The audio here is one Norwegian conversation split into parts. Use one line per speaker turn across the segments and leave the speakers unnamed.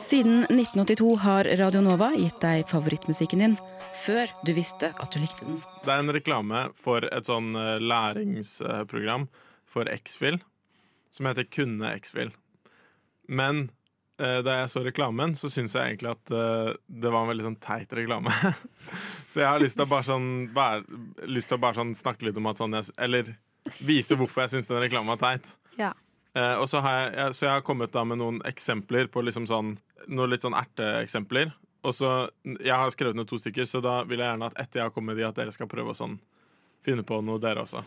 Siden 1982 har Radio Nova gitt deg favorittmusikken din før du visste at du likte den.
Det er en reklame for et sånn eh, læringsprogram for X-Fil, som heter Kunne X-Fil. Men eh, da jeg så reklamen, så syns jeg egentlig at eh, det var en veldig sånn teit reklame. så jeg har lyst til å bare sånn, bare, lyst til å bare sånn snakke litt om at sånn jeg, s- Eller vise hvorfor jeg syns den reklamen er teit.
Ja.
Eh, og så har jeg, jeg, så jeg har kommet da med noen eksempler på liksom sånn, noen litt sånn erteeksempler. Og så, Jeg har skrevet ned to stykker, så da vil jeg gjerne at etter jeg har kommet med de, at dere skal prøve å sånn, finne på noe, dere også.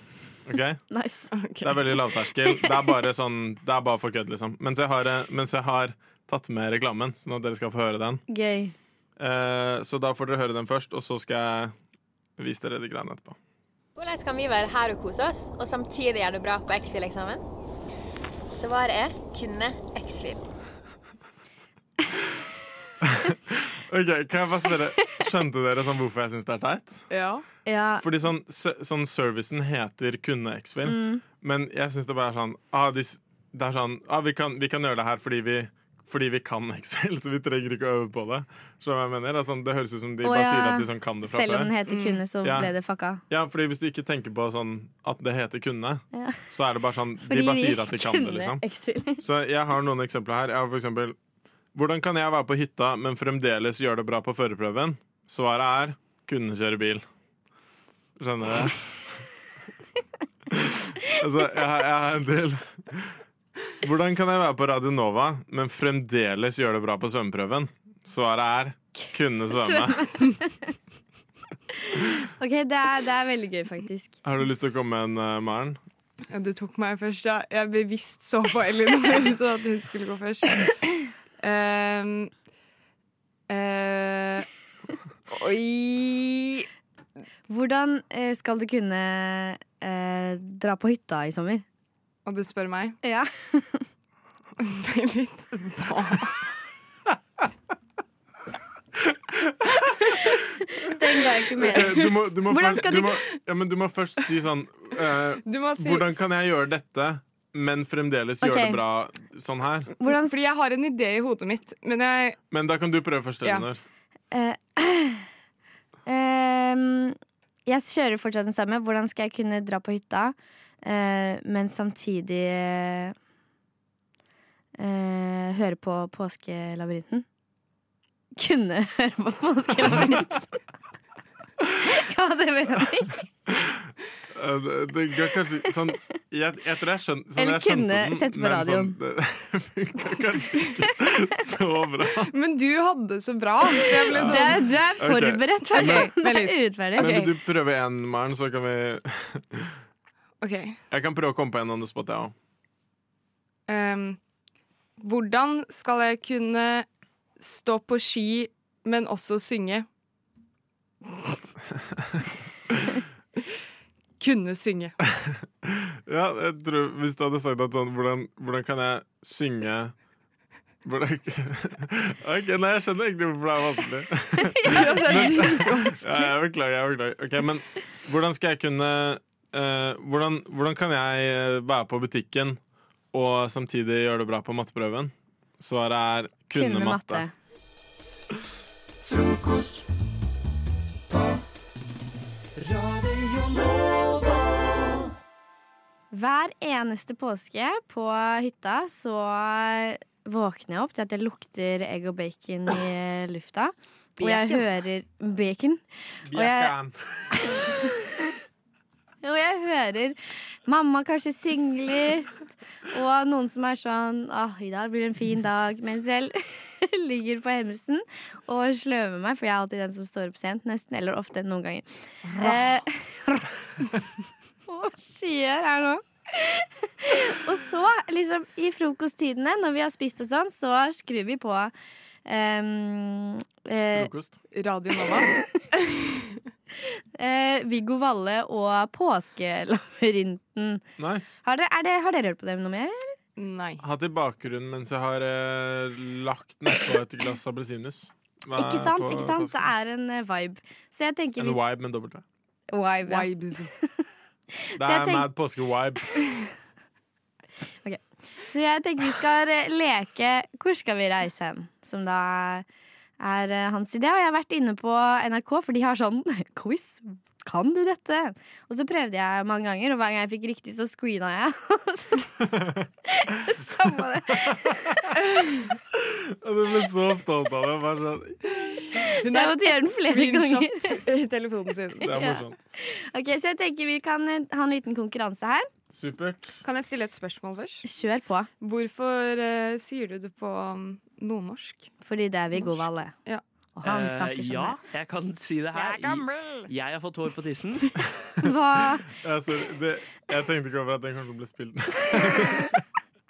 Ok?
Nice.
Det er veldig lavterskel. Det er bare sånn, det er bare for kødd, liksom. Mens jeg, har, eh, mens jeg har tatt med reklamen, sånn at dere skal få høre den.
Gøy.
Eh, så da får dere høre den først, og så skal jeg vise dere de greiene etterpå.
Hvordan kan vi være her og kose oss, og samtidig gjøre det bra på X-Fil-eksamen? Svaret er kunne X-Fil.
Ok, Kan jeg bare spørre, Skjønte dere sånn hvorfor jeg syns det er teit?
Ja.
Ja.
Fordi sånn, s- sånn servicen heter kunne X-Fil,
Mm.
men jeg syns det bare er sånn ah, de, s- Det er sånn ah, vi, kan, vi kan gjøre det her fordi vi, fordi vi kan X-Fil, så vi trenger ikke å øve på det. Skjønner du hva jeg mener? Det, er sånn, det høres ut som de
Å,
bare
ja.
sier at de sånn kan det fra
Selv om
før.
den heter Kunne, så
Ja.
ble det fucka.
Ja, fordi hvis du ikke tenker på sånn at det heter kunne,
Ja.
så er det bare sånn De
Fordi
bare
vi
sier at de kan det,
kunne
liksom.
X-Fil.
Så jeg har noen eksempler her. Jeg har for eksempel Hvordan kan jeg være på hytta, men fremdeles gjøre det bra på førerprøven? Svaret er kunne kjøre bil. Skjønner du? altså, jeg, har- jeg har en del. Hvordan kan jeg være på Radio Nova, men fremdeles gjøre det bra på svømmeprøven? Svaret er kunne svømme.
Ok, det er, det er veldig gøy, faktisk.
Har du lyst til å komme med en, eh, Maren?
Ja, Du tok meg først, ja. Jeg bevisst så på Elinor, så at hun skulle gå først. Ehm, eh, oi
Hvordan eh, skal du kunne eh, dra på hytta i sommer?
Og du spør meg?
Ja.
Det er litt Hva?
Den ga jeg ikke med.
Eh, Du må, du må
Hvordan
først,
skal
du
du-
må, ja, men du må først si sånn eh,
Du må si
Hvordan kan jeg gjøre dette, men fremdeles gjøre
Ok.
det bra sånn her?
Hvordan
Fordi jeg har en idé i hodet mitt, men jeg
Men da kan du prøve først,
Ja.
Elinor.
eh, ehm, Jeg kjører fortsatt den samme. Hvordan skal jeg kunne dra på hytta, eh, men samtidig eh, høre på Påskelabyrinten? Kunne høre på Påskelabyrinten. Hva var det mening?
Eh, Det, det går kanskje sånn Jeg, jeg tror jeg skjønte sånn,
Eller
jeg skjønte
kunne
den,
sette på
men
radioen.
Sånn, det funka kanskje ikke så bra.
Men du hadde det så bra. Så jeg
Du
ble sånn
er, du er forberedt,
Ok,
okay.
vent
Det er
litt.
urettferdig.
Men vil du prøve en, Maren, så kan vi
OK.
Jeg kan prøve å komme på en on the spot, jeg òg.
ehm, hvordan skal jeg kunne stå på ski, men også synge? kunne synge.
Ja, jeg tror, hvis du hadde sagt at sånn Hvordan, hvordan kan jeg synge hvordan, Ok, Nei, jeg skjønner egentlig hvorfor det er vanskelig. Ja, jeg beklager, jeg beklager. Ok, men hvordan skal jeg kunne eh, hvordan, hvordan kan jeg eh, være på butikken og samtidig gjøre det bra på matteprøven? Svaret er kunne, matte.
Hver eneste påske på hytta så våkner jeg opp til at det lukter egg og bacon i lufta. Og jeg hører bacon. Og jeg- Og jeg hører mamma kanskje synge litt, og noen som er sånn Åh, i dag blir det en fin dag. Mens jeg ligger på hemmelsen og sløver meg, for jeg er alltid den som står opp sent, nesten. Eller ofte, noen ganger. Eh, Hva skjer her nå? og så, liksom, i frokosttidene, når vi har spist og sånn, så skrur vi på ehm, eh,
Frokost.
Radio Nova.
eh, Viggo Valle og Påskelabyrinten.
Nice.
Har dere, er det, har dere hørt på dem noe mer?
Nei.
Hatt i bakgrunnen mens jeg har eh, lagt nedpå et glass appelsinjuice. Hva er
Ikke sant?
på-
ikke sant?
på-
Det er en eh, vibe. Så jeg tenker
En
vi,
vibe med dobbelt V.
Vibe, ja.
Vibes.
Det
jeg
er
tenk-
mad påske-vibes.
Så jeg tenker vi skal eh, leke 'Hvor skal vi reise hen?', som da er eh, hans idé. Og jeg har vært inne på NRK, for de har sånn quiz. Kan du dette? Og så prøvde jeg mange ganger, og hver gang jeg fikk riktig, så screena jeg. Så- Samme det.
Og Du blir så stolt av det. Bare sånn.
Så
Hun
jeg måtte gjøre den flere ganger.
screenshot i telefonen sin.
Det er
Ja.
morsomt.
Ok, Så jeg tenker vi kan eh, ha en liten konkurranse her.
Supert.
Kan jeg stille et spørsmål først?
Kjør på,
Hvorfor eh, sier du det på um, nordnorsk?
fordi det er vi gode ved alle.
Ja.
Og han
Eh,
snakker
ja,
sånn.
jeg kan si det her. Jeg har fått hår på tissen.
her. Hva
Jeg, ser, det, jeg tenkte ikke over at den kanskje ble spilt ned.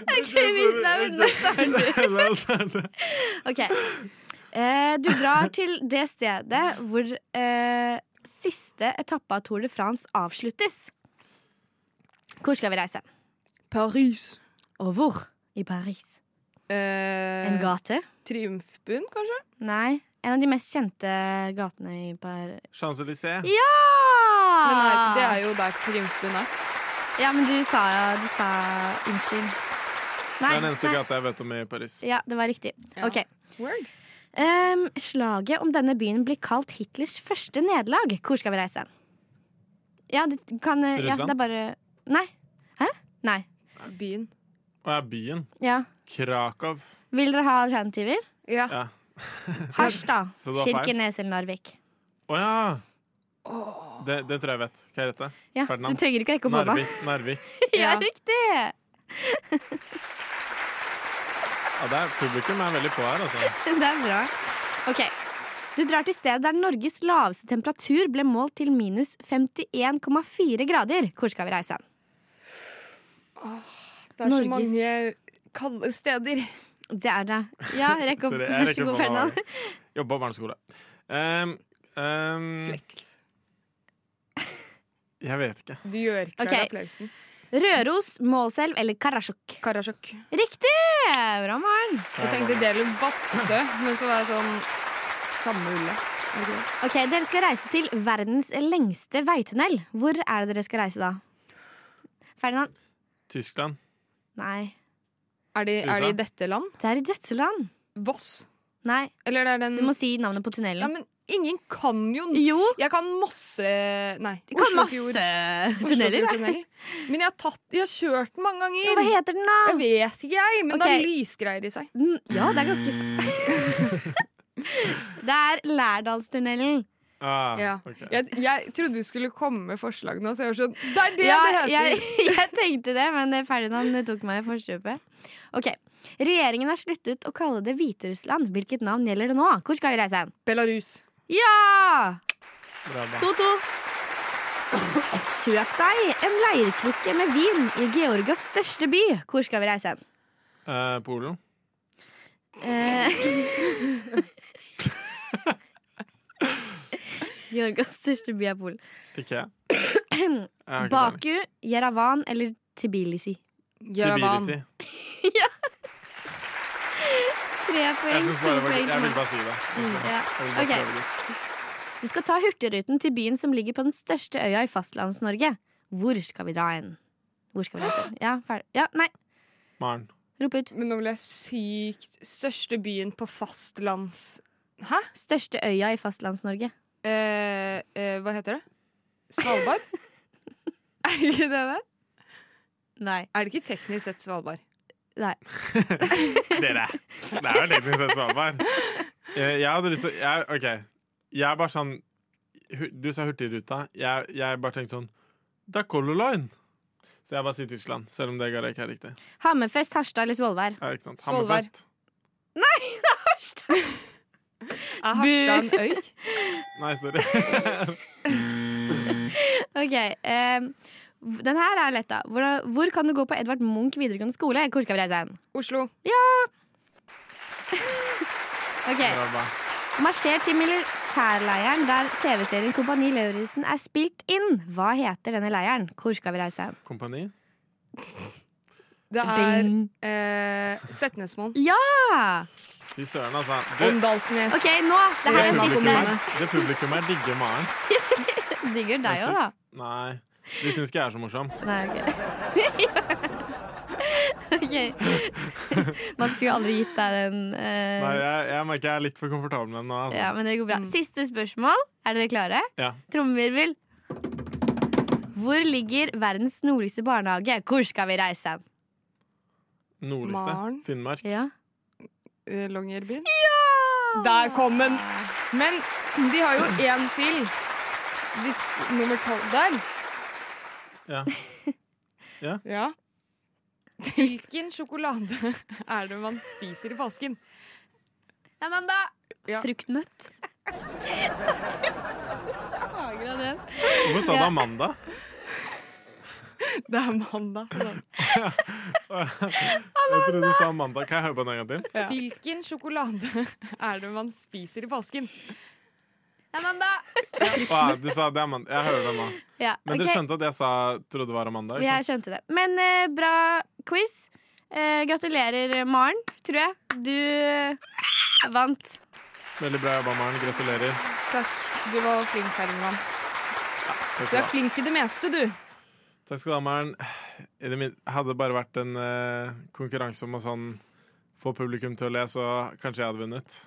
Ok, vi- nei, men nå starter vi.
La oss starte.
Ok. Eh, du drar til det stedet hvor eh, siste etappe av Tour de France avsluttes. Hvor skal vi reise?
Paris.
Og hvor? I Paris. En
Eh,
gate?
Triumfbuen, kanskje?
Nei. En av de mest kjente gatene i Paris.
Champs-Élysées.
Ja!
Men nei, det er jo der Triumfbuen er.
Ja, men du sa Du sa unnskyld.
Det
Nei.
er den eneste
nei.
gata jeg vet om i Paris.
Ja, det var riktig.
Ja.
Ok.
Word.
Ehm, slaget om denne byen blir kalt Hitlers første nederlag. Hvor skal vi reise hen? Ja, du kan eh, ja, Det
Russland?
er bare Nei. Hæ? Nei.
Byen.
Og er byen
Ja.
Krakow.
Vil dere ha alternativer?
Ja.
Ja.
Harstad.
Så det var feil.
Kirkenes eller Narvik.
Å ja! Det, det tror jeg vet. Hva er dette?
Ja,
Ferdinand.
Du trenger ikke rekke opp hånda.
Narvik. Narvik.
Ja,
Ja.
riktig!
Ja, det er, publikum er veldig på her, altså.
Det er bra. OK. Du drar til stedet der Norges laveste temperatur ble målt til minus 51,4 grader. Hvor skal vi reise hen?
Det er
Norges-
så mange kalde steder.
Det er det. Ja, rekk opp.
Sorry, jeg
Vær
rekker
så
opp
god,
hånda.
Ferdinand.
Jobba barneskole. Um, um,
Flex.
jeg vet ikke.
Du gjør klar
Ok.
applausen.
Røros, Målselv eller Karasjok?
Karasjok.
Riktig! Bra, Maren.
Jeg tenkte delen Vadsø, men så var jeg sånn Samme ulle. Er det ikke det?
Ok, Dere skal reise til verdens lengste veitunnel. Hvor er det dere skal reise da? Ferdinand?
Tyskland.
Nei.
Er de, er de i
USA?
dette land?
Det er i Dødseland.
Voss?
Nei,
Eller det er den
du må si navnet på
Ja,
tunnelen.
men ingen kan jo
Jo,
Jeg kan masse Nei.
du kan
Oslofjord-
masse tunneler. da.
Oslofjordtunneler. Men jeg har, tatt, jeg har kjørt den mange
Ja, Hva
ganger.
heter den, da?
Jeg vet ikke, jeg. Men det
Ok.
er lysgreier i seg.
Den- Ja, det er ganske
Mm.
Det er Lærdalstunnelen.
Ah,
Ja.
ok.
Jeg, jeg trodde du skulle komme med forslag nå, så jeg var sånn Det er det
Ja,
det heter!
jeg, jeg tenkte det, men det- Ferdinand tok meg i forkjøpet. Ok. Regjeringen har sluttet å kalle det Hviterussland. Hvilket navn gjelder det nå? Hvor skal vi reise hen?
Belarus.
Ja!
Bra, bra.
2-2. Kjøp deg en leirkrukke med vin i Georgias største by. Hvor skal vi reise hen?
Eh, Polen.
Eh. Georgias største by er Polen.
Ikke jeg. Jeg har ikke peiling.
Baku, Jeravan eller Tbilisi?
Jaravan.
Tbilisi.
Tre
Jeg,
poeng,
synes
to
bare det var,
poeng
jeg
til
vil
meg.
bare si det.
Mm, Ja.
Jeg vil bare
Ok.
prøve litt.
Du skal ta Hurtigruten til byen som ligger på den største øya i Fastlands-Norge. Hvor skal vi dra hen? Hvor skal vi reise hen? Ja, ferdig. Ja, nei,
Maren.
rop ut.
Men nå ble jeg sykt Største byen på fastlands... Hæ?
Største øya i Fastlands-Norge.
Eh, eh, hva heter det? Svalbard? er det ikke det det?
Nei.
Er det ikke teknisk sett Svalbard?
Dere. Det er jo teknisk sett Svalbard. Eh, Jeg hadde lyst til jeg, OK. Jeg er bare sånn hu- Du sa Hurtigruta. Jeg, jeg bare tenkte sånn Det er Color Line. Så jeg bare sier Tyskland, selv om det gar ikke er riktig.
Hammerfest, Harstad eller Svolvær?
Ja, ikke sant?
Svalbard.
Hammerfest.
Harstad!
Er Harstad en øy?
Nei, sorry.
Ok, ehm, den her er lett da hvor, hvor kan du gå på Edvard Munch videregående skole? Hvor skal vi reise hen?
Oslo.
Ok,
Det var bra.
Marsjer til militærleiren der TV-serien Kompani Lauritzen er spilt inn. Hva heter denne leiren? Hvor skal vi reise hen?
Kompani?
Det er eh, Setnesmoen.
Ah.
Fy søren, altså. Du,
Åndalsnes.
OK, nå! Det her
det
er
publikum
siste.
her, det publikum her digger Maren.
Digger deg òg, da.
Nei, de syns ikke jeg er så morsom.
Nei, ok. ok. Man skulle jo aldri gitt deg den. eh,
Nei, jeg, jeg merker jeg er litt for komfortabel med den nå. Altså.
ja, men det går bra. Siste spørsmål. Er dere klare?
Ja.
Trommevirvel. Hvor ligger verdens nordligste barnehage? Hvor skal vi reise?
Nordligste.
Maren.
Finnmark.
Ja.
Eh, Longyearbyen. Der kom den! Men de har jo én til. Hvis nummer tolv der.
Ja. Ja.
Ja. Hvilken sjokolade er det man spiser i påsken?
Amanda!
Ja.
Fruktnøtt.
Hvorfor sa du Amanda?
Det er mandag.
Jeg trodde du sa Amanda. Kan jeg høre på den en gang til?
Hvilken sjokolade er det man spiser i påsken?
Amanda!
Å, du sa det er Amanda. Jeg hører det nå.
Ja,
Men
ok.
dere skjønte at jeg sa trodde det var Amanda? Ikke
Jeg
sant?
skjønte det. Men eh, bra quiz. Eh, gratulerer, Maren, tror jeg. Du eh, vant.
Veldig bra jobba, Maren. Gratulerer.
Takk. Du var flink, Herman.
Takk
Du
skal
er
du ha,
flink i det meste, du.
Takk skal du ha Maren. I det min- Hadde det bare vært en eh, konkurranse om å sånn få publikum til å le, så kanskje jeg hadde vunnet.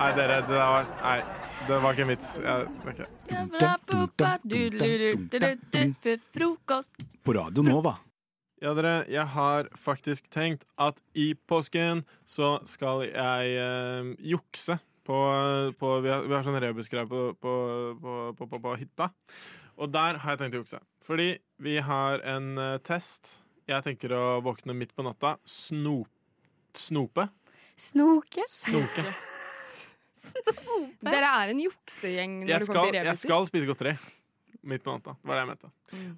Nei, dere, det der var Nei, det var ikke en vits. Jeg, ok.
På Radio Nova.
Ja, dere, jeg har faktisk tenkt at i påsken så skal jeg eh, jukse på, på vi, har, vi har sånn rebusgreie på, på, på, på, på, på hytta. Og der har jeg tenkt å jukse. Fordi vi har en eh, test. Jeg tenker å våkne midt på natta, sno, snope
Snoke.
Snoke.
Dere er en juksegjeng når det
Jeg
kommer
skal,
til
jeg
rebuser. Mm.
skal spise godteri. Midt på natta. Det var det jeg mente.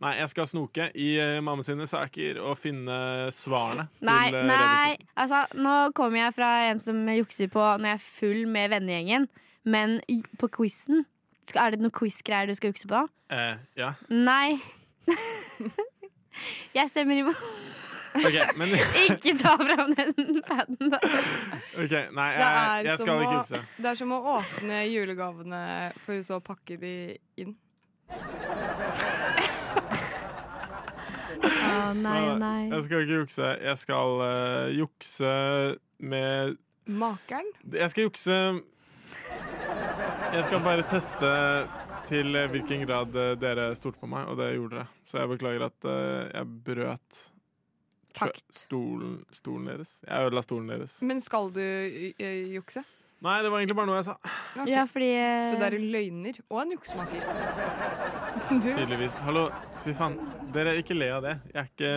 Nei, jeg skal snoke i eh, mamma sine saker og finne svarene
Nei,
til eh,
nei.
rebushuset.
Altså, nå kommer jeg fra en som jukser på når jeg er full med vennegjengen, men i- på quizen skal- Er det noen quiz-greier du skal jukse på?
Eh, ja.
Nei. jeg stemmer imot.
Ok, men
Ikke ta fram den paden, da.
Ok,
Det
nei, jeg,
er
jeg
som
skal ikke
å-
jukse.
Det er som å åpne julegavene for så å pakke de inn.
Å, nei,
Jeg
nei.
skal ikke jukse. Jeg skal eh, jukse med
Makeren?
Jeg skal jukse Jeg skal bare teste til eh, hvilken grad eh, dere stolte på meg, og det gjorde dere. Så jeg beklager at eh, jeg brøt tr-
Pakt.
stolen, stolen deres. Jeg ødela stolen deres.
Men skal du ø, jukse?
Nei, det var egentlig bare noe jeg sa.
Ok.
Ja, fordi eh,
Så du er en løgner og en juksemaker. Du,
Tydeligvis. Hallo, fy faen. Dere, ikke le av det. Jeg er ikke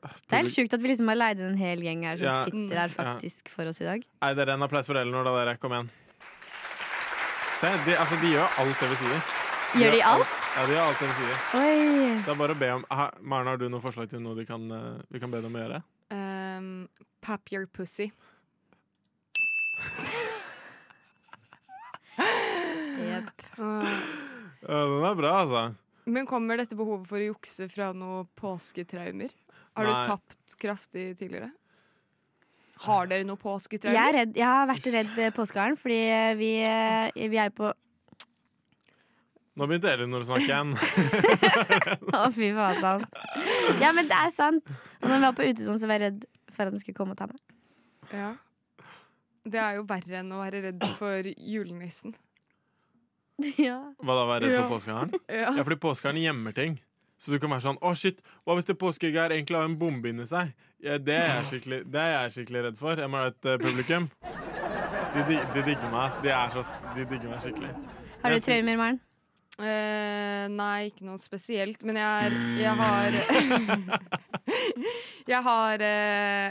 Det er helt sjukt at vi liksom har leid inn en hel gjeng her som
Ja.
sitter her
Ja.
faktisk for oss i dag.
Nei, dere en applaus for Elinor da, dere. Kom igjen. Se, de, altså, de gjør alt det vi sier.
Gjør de
gjør
alt?
alt. Ja, de gjør alt det vi sier.
Oi.
Så det er bare å be om ha, Maren, har du noen forslag til noe de kan, eh, vi kan be dem å gjøre?
um, pap your pussy.
Jep.
Ja, den er bra, altså.
Men kommer dette behovet for å jukse fra noen påsketraumer? Har
Nei.
du tapt kraftig tidligere? Har dere noen
Jeg, er
påsketraumer?
redd, jeg har vært redd eh, påskeharen, fordi eh, vi, eh, vi er på
Nå begynte Elinor å snakke igjen.
Å, fy faen. sånn. Ja, men det er sant. Og når vi var på utesonen, så var jeg redd for at den skulle komme og ta meg.
Ja. Det er jo verre enn å være redd for julenissen.
Ja.
Hva da, være redd
Ja.
for påskeharen?
Ja.
Ja, fordi påskeharen gjemmer ting. Så du kan være sånn Å, shit, hva hvis det påskeegget her egentlig har en bombe inni seg? Ja, det, er jeg skikkelig, det er jeg skikkelig redd for. Jeg må ha et eh, publikum. De, de, de digger meg, ass. De, er så, de digger meg skikkelig.
Har du
Jeg sy-
traumer, Maren?
Eh, nei, ikke noe spesielt. Men jeg, er, jeg har Jeg har eh,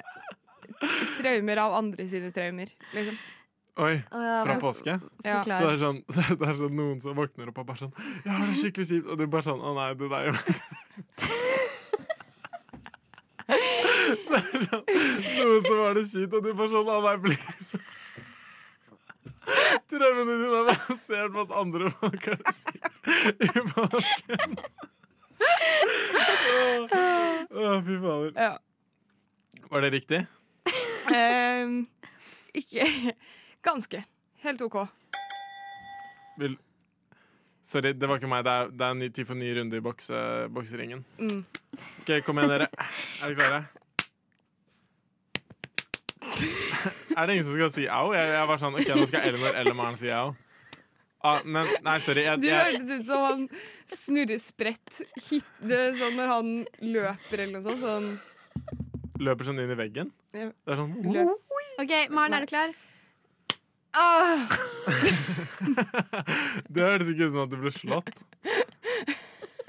t- traumer av andre sine traumer, liksom.
Oi, fra
Forklar.
påske?
Ja.
Så det er, sånn, det er sånn noen som våkner opp og bare sånn Jeg har det skikkelig kjipt. Og du bare sånn Å nei, det der jo Det er sånn, Noen som har det kjipt, og du bare sånn Å nei, please. Drømmene dine er basert på at andre folk har det kjipt i påsken. Å, fy fader.
Ja.
Var det riktig?
Ehm, ikke Ganske. Helt OK.
Vil... Sorry, det var ikke meg. Det er, det er en ny tid for ny runde i bokse, bokseringen.
Mm.
Ok, Kom igjen, dere. Er dere klare? Er det ingen som skal si au? Jeg, jeg var sånn, ok, Nå skal Elinor eller Maren si au. Ah, men nei, sorry. Jeg,
Det
jeg,
hørtes ut som han snurrer spredt hit, det, er sånn når han løper eller noe sånt. Sånn
løper sånn inn i veggen.
Ja.
Det er sånn
løp.
OK, Maren, er du klar?
Ah,
Det hørtes ikke ut som at du ble slått.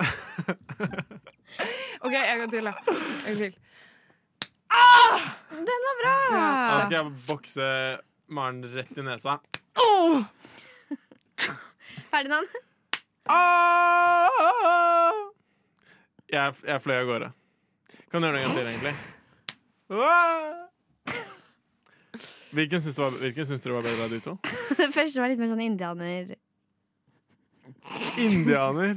OK, en gang til, da. En gang til.
Ah! Den var bra!
Da skal jeg bokse Maren rett i nesa.
Oh!
Åh! Oh!
Ferdinand?
Ah! Jeg, jeg fløy av gårde. Kan du gjøre det en gang til, egentlig? Ah! Hvilken syns, du var, hvilken syns dere var bedre av de to?
Den første var litt mer sånn indianer.
Indianer.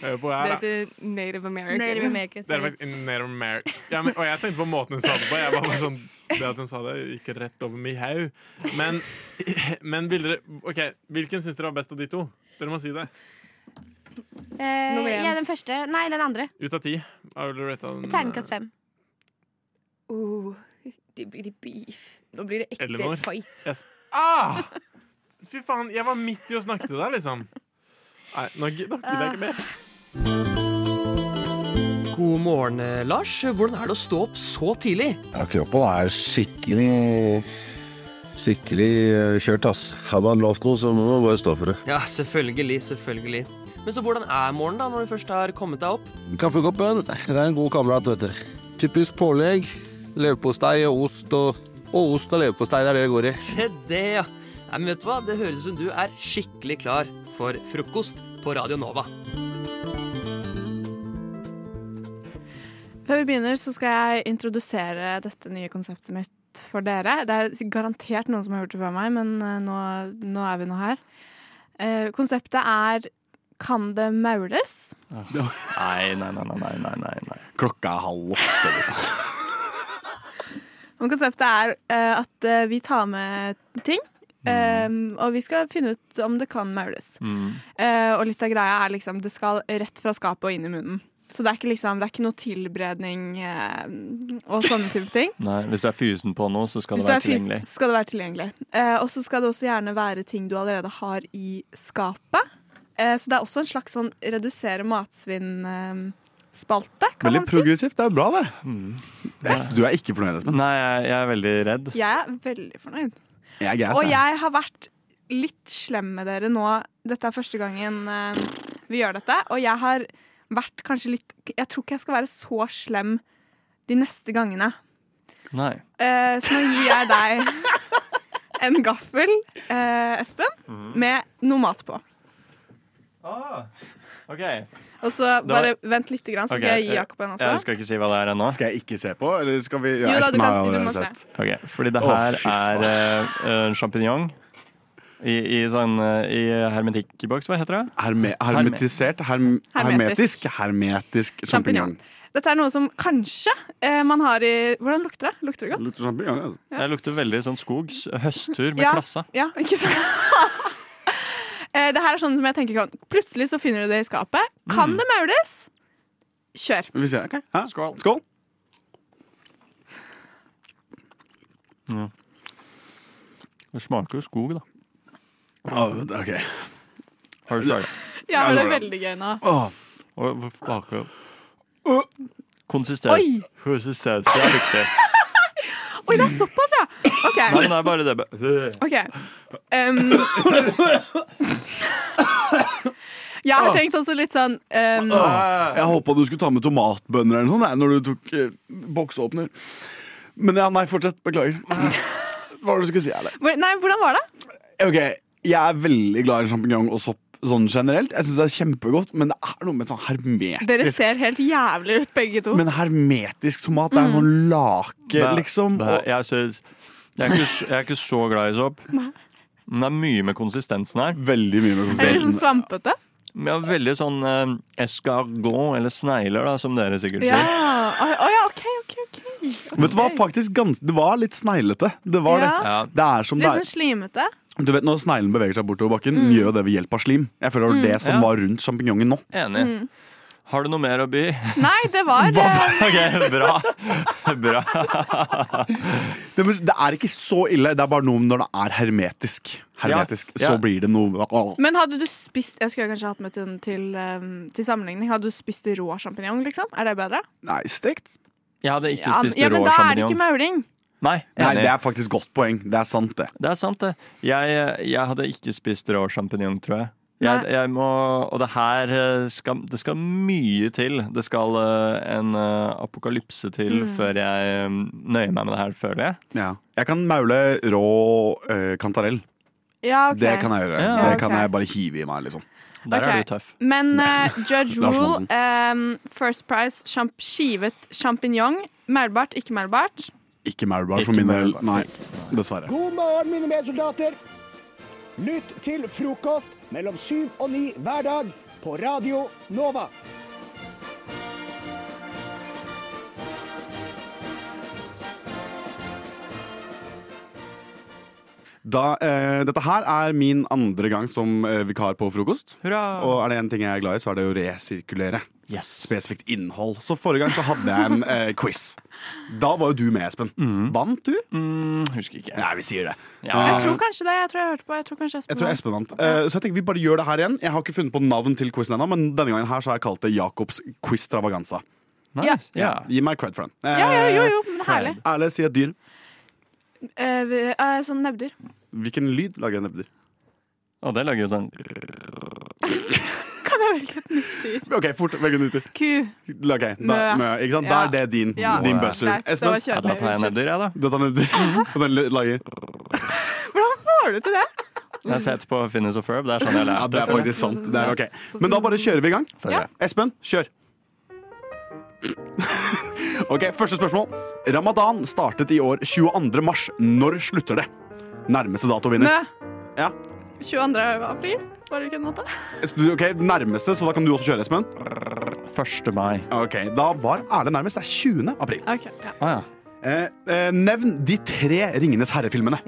Hør på
Det
her, da.
heter Native American.
Native American.
Det er
sorry.
faktisk in Native America. Ja, men, og jeg tenkte på måten hun sa det på. Jeg var bare sånn, det at hun sa det, gikk rett over min haug. Men, men vil dere, ok, hvilken syns dere var best av de to? Dere må si det.
Eh,
Nummer én.
ja, den første. Nei, den andre.
Ut av ti. Hva vil du rate den?
Terningkast fem.
Oh, det blir beef. Nå blir det ekte
Eleanor.
fight.
Jeg s- ah! Fy faen, jeg var midt i å snakke til deg, liksom. Nei, nå gidder jeg ikke
Ah.
mer.
God morgen, eh, Lars. Hvordan er det å stå opp så tidlig?
Ja, kroppen er skikkelig Skikkelig eh, kjørt, ass. Har man lovt noe, så må man bare stå for det.
Ja, selvfølgelig, selvfølgelig. Men så hvordan er morgenen da, når du først har kommet deg opp?
Kaffekoppen, det er en god kamerat, vet du. Typisk pålegg. Leverpostei og ost og Og ost og leverpostei, det er det det går i.
Se det, ja. Nei, men vet du hva? Det høres ut som du er skikkelig klar for frokost på Radio Nova.
Før vi begynner, så skal jeg introdusere dette nye konseptet mitt for dere. Det er garantert noen som har hørt det før meg, men eh, nå, nå er vi nå her. Eh, konseptet er Kan det maules?
Nei, nei, nei, nei, nei, nei, nei, nei. Klokka er halv åtte, liksom.
Og konseptet er eh, at eh, vi tar med ting, eh, og vi skal finne ut om det kan maules.
Mm.
Eh, og litt av greia er liksom det skal rett fra skapet og inn i munnen. Så det er ikke, liksom, det er ikke noe tilberedning eh, og sånne type ting.
Nei, hvis du er fysen på noe, så skal
Hvis
det
du
være
er fysisk,
tilgjengelig.
så skal det være tilgjengelig. Eh, og så skal det også gjerne være ting du allerede har i skapet. Eh, så det er også en slags sånn redusere matsvinn-spalte, kan
Veldig
man si.
progressivt. Det er bra, det. Du er ikke fornøyd, Espen? Mm. Nei, jeg, jeg er veldig redd.
Jeg er veldig fornøyd.
Jeg er
Og jeg har vært litt slem med dere nå. Dette er første gangen eh, vi gjør dette, og jeg har vært kanskje litt Jeg tror ikke jeg skal være så slem de neste gangene.
Nei.
Eh, så nå gir jeg deg en gaffel, eh, Espen,
Mm.
med noe mat på.
Ah, OK.
Og så
Det var-
bare vent litt, grann, så
Ok,
skal jeg gi
eh,
Jakob en
Jeg
også.
skal ikke si hva det er ennå.
Skal jeg ikke se på, eller skal vi
Jo da, du
Espen har
kan si- du må
allerede
se.
sett.
Ok, Fordi det
Å,
her
fy
er uh, sjampinjong i, i sånn eh, I hermetikkboks, hva heter det?
Herme, hermetisert? Herm, hermetisk?
Hermetisk.
Hermetisk sjampinjong.
Champignon. Dette er noe som kanskje eh, man har i Hvordan lukter det? Lukter det godt?
Lukter sjampinjong, altså.
Det lukter veldig sånn skog. s- Høsttur med
Ja.
klassa.
Ja, ikke sant? Eh, det her er sånn som jeg tenker kan Plutselig så finner du det i skapet. Kan
Mm.
det maules? Kjør.
Vi ser, ok. Hæ?
Skål.
Skål.
Det smaker jo skog, da.
Å, ok.
Har du smaker?
Ja,
Ja,
det
men det er
var
veldig gøy nå.
Å,
Og hvor smaker
Åh.
Konsistens.
Oi!
Konsistens det er viktig.
Oi, det er såpass, ja!
Nei,
OK.
men det er bare det.
ok. Um, jeg har tenkt også litt sånn um,
jeg håpa du skulle ta med tomatbønner eller noe sånt jeg, når du tok eh, boksåpner. Men ja, nei, fortsett. Beklager. Hva var det du skulle si? Eller?
hvor- Nei, hvordan var det?
Ok, jeg er veldig glad i sjampinjong og sopp sånn generelt. Jeg synes det er kjempegodt, men det er noe med sånn hermetisk
Dere ser helt jævlig ut, begge to.
Men hermetisk tomat, det er en sånn lake, liksom.
Det,
Og
jeg, synes, jeg, er ikke, s- jeg er ikke så glad i sopp. Men det er mye med konsistensen her.
veldig mye med
er dere sånn
konsistensen.
svampete?
Ja, veldig sånn eh, escargot, eller snegler, da, som dere sikkert
Ja.
sier.
Å å ja, OK, OK. ok.
Vet du hva, faktisk gans Det var litt sneglete. Det var
Ja.
det.
Ja.
Det er som det
Litt sånn
er.
slimete.
Du vet Når sneglen beveger seg bortover bakken, gjør jo det ved hjelp av slim. Jeg føler det var det
Mm.
som
Ja.
var rundt sjampinjongen nå.
Enig.
Mm.
Har du noe mer å by?
Nei, det var eh,
OK, bra. Bra.
Det, det er ikke så ille, det er bare noe når det er hermetisk. Hermetisk,
Ja, ja.
Så blir det noe
Men hadde du spist Jeg skulle kanskje hatt med til, til, eh, til sammenligning. Hadde du spist rå sjampinjong, liksom? Er det bedre?
Nei, stekt.
Jeg hadde ikke
Ja,
spist
ja,
rå
men da er det ikke
sjampinjong.
mauling.
Nei,
Nei,
enig.
det er faktisk godt poeng. Det er sant, det.
Det er sant, det. Jeg, jeg hadde ikke spist rå sjampinjong, tror jeg. Jeg,
Nei.
jeg må, og det her eh, skal, det skal mye til. Det skal eh, en eh, apokalypse til
Mm.
før jeg eh, nøyer meg med det her, føler jeg.
Ja. Jeg kan maule rå eh, kantarell.
Ja, ok.
Det kan jeg gjøre.
Ja,
Det kan
ok.
jeg bare hive i meg, liksom.
Der
Ok.
er du tøff.
Men eh, Judge
Lars
Rule,
Monsen.
ehm, First Price, champ skivet sjampinjong. Maulbart, ikke maulbart.
Ikke maulbar
Ikke
for min del.
maulbar.
Nei, dessverre.
God morgen, mine medsoldater. Lytt til frokost mellom syv og ni hver dag på Radio Nova.
Da, eh, dette her er min andre gang som eh, vikar på frokost.
Hurra!
Og er det én ting jeg er glad i, så er det å resirkulere
Yes.
spesifikt innhold. Så forrige gang så hadde jeg en eh, quiz. Da var jo du med, Espen. Vant du?
Mm, husker ikke.
Nei, vi sier det.
Ja.
Jeg tror kanskje det. Jeg tror jeg hørte på. Jeg tror kanskje
Eh, Jeg
Espen
tror Espen vant. Eh, så jeg tenker vi bare gjør det her igjen. Jeg har ikke funnet på navn til quizen ennå, men denne gangen her så har jeg kalt det Jacobs quiz travaganza.
Nice. Ja.
Gi meg cred for den. Eh,
Ja, ja, jo, jo, men herlig.
Erle, si et dyr.
Eh, vi- eh, sånn nebbdyr.
Hvilken lyd lager en nebbdyr?
Og det lager jo sånn
Kan jeg velge et nytt dyr?
OK, fort. Velg en utdyr.
Ku.
Ok, da,
Mø.
mø, ikke sant? Da
Ja.
er det din,
Ja.
din
Wow.
buzzer.
Nei, det var
Espen,
ja, Da tar jeg
kjedelig.
nebbdyr, jeg, da.
dette er nebbdyr. Og den lager
Hvordan får du til det?
Jeg har sett på Finnes og Ferb. Det er sånn jeg
Ja,
lærte
det er faktisk sant. Det er ok. Men da bare kjører vi i gang.
Ja.
Espen, kjør. Ok, Første spørsmål. Ramadan startet i år 22. mars. Når slutter det? Nærmeste dato vinner.
Mø.
Ja.
22. april, var det ikke en måte?
Espen, Ok, Nærmeste, så da kan du også kjøre, Espen.
1. mai.
Ok, Da var Erle nærmest. Det er 20. april.
Ok, ja.
Å Ah, ja.
Eh, eh, nevn de tre Ringenes herre-filmene.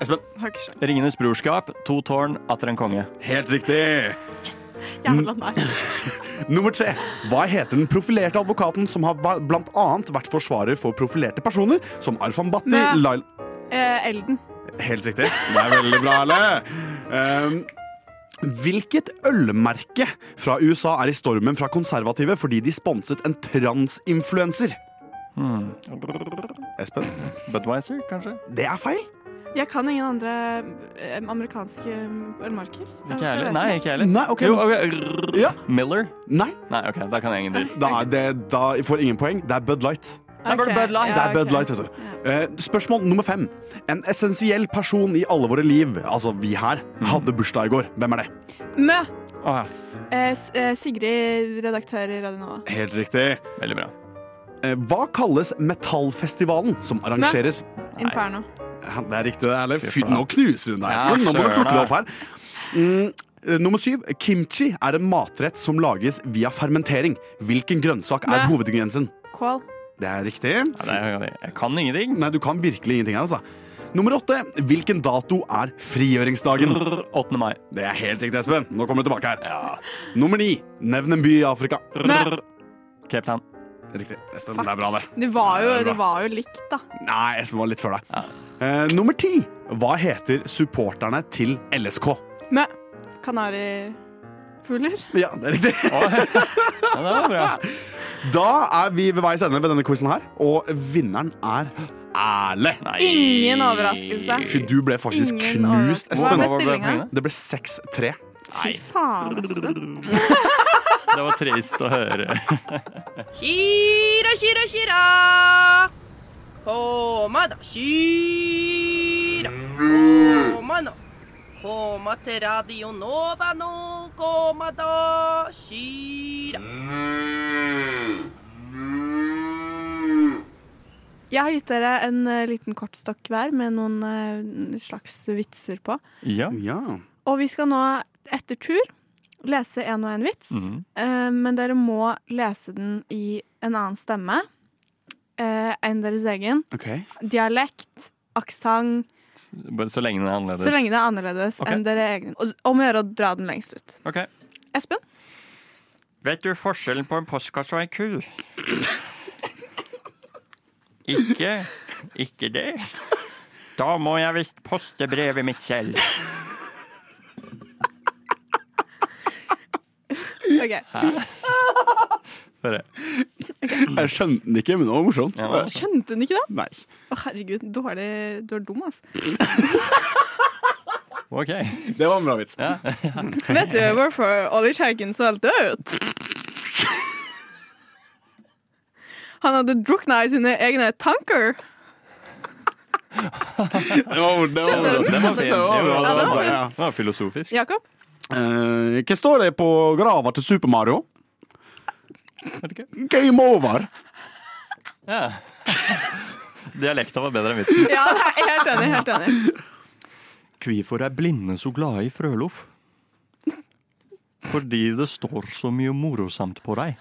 Espen.
Har ikke sjans.
Ringenes brorskap, To tårn, Atter en konge.
Helt riktig.
Jævla nei.
Nummer tre. Hva heter den profilerte advokaten som har va- blant annet vært forsvarer for profilerte personer som Arfan Bhatti,
Mø.
Lail...
Eh, elden.
Helt riktig. Det er veldig bra, Erle. Ehm, hvilket ølmerke fra USA er i stormen fra konservative fordi de sponset en transinfluenser?
Hmm.
Espen?
Budwiser, kanskje?
Det er feil.
Jeg kan ingen andre eh, amerikanske eh, ølmarker.
Ikke jeg heller. Nei, ikke jeg heller.
Nei, ok,
Jo,
men-
ok.
Ja.
Miller?
Nei,
Nei, ok, da kan jeg ingen dyr.
da, er det, da får ingen poeng. Det er Bud Light.
er bare Bud Light.
Det er Bud Light, vet du. Eh, spørsmål nummer fem. En essensiell person i alle våre liv, altså vi her, hadde bursdag i går. Hvem er det?
Mø.
Åh, Mhm. ja, f-
Eh, S- eh, Sigrid, redaktør i Radio Nova.
Helt riktig.
Veldig bra.
Eh, Hva kalles metallfestivalen som arrangeres
Inferno.
Ja, Det er riktig, det, Erle.
Fy
Fy,
faen.
nå knuser hun deg,
Ja,
Espen. Nå må du
søren,
plukke det
da.
opp her. Mm, eh, nummer syv. Kimchi er en matrett som lages via fermentering. Hvilken grønnsak er
Mø.
hovedingrediensen?
Kål.
Det er riktig.
Ja, det er, jeg kan ingenting.
Nei, du kan virkelig ingenting her, altså. Nummer åtte. Hvilken dato er frigjøringsdagen?
8. mai.
Det er helt riktig, Espen. Nå kommer du tilbake her. Nummer ni. Nevn en by i Afrika.
Mø.
Cape Town.
Riktig. Espen, det er bra, det.
Det var jo,
Ja, det er bra.
det var jo likt, da.
Nei, Espen var litt før deg. Eh, nummer ti. Hva heter supporterne til LSK?
Mø. Kanarifugler.
Ja, det er riktig.
Ja, det var bra.
Da er vi ved veis ende ved denne quizen her, og vinneren er Erle.
Nei.
Ingen overraskelse.
Fy, du ble faktisk
Ingen
knust,
overraskelse.
Espen.
Hva ble stillinga?
Det ble 6-3.
Nei,
Faen, Espen.
det var trist å høre.
Shira, shira, shira. Koma da, shira. Koma nå. Koma til Radio Nova nå. Koma da, shira.
Jeg har gitt dere en eh, liten kortstokk hver med noen eh, slags vitser på.
Ja.
Ja.
Og vi skal nå etter tur lese en og en vits,
Mm.
Mhm.
eh, men dere må lese den i en annen stemme eh, enn deres egen.
Ok.
Dialekt, aksent,
Bare så lenge den er annerledes.
så lenge det er annerledes
Ok.
enn dere egne. Og om å gjøre å dra den lengst ut.
Ok.
Espen?
Vet du forskjellen på en postkasse og en ku? Ikke ikke det. Da må jeg visst poste brevet mitt selv.
OK.
Jeg skjønte den ikke, men det var morsomt.
Skjønte hun ikke det?
Nei.
Å, herregud, dårlig, du er dum, altså.
Det var en bra vits.
Vet du hvorfor oljekjeiken sølte ut? Han hadde drukna i sine egne tanker.
Det var, det var,
Skjønte du den?
det var,
fin.
det var,
Jo,
bra,
jo,
det var,
den var
bra,
fin.
ja.
Den var filosofisk.
Jakob?
Eh, Hva står det på grava til Super Mario? Game over!
Ja. Dialekta var bedre enn vitsen.
Ja, nei, helt enig. helt enig
Hvorfor er blinde så glade i frøloff? Fordi det står så mye morosamt på deg.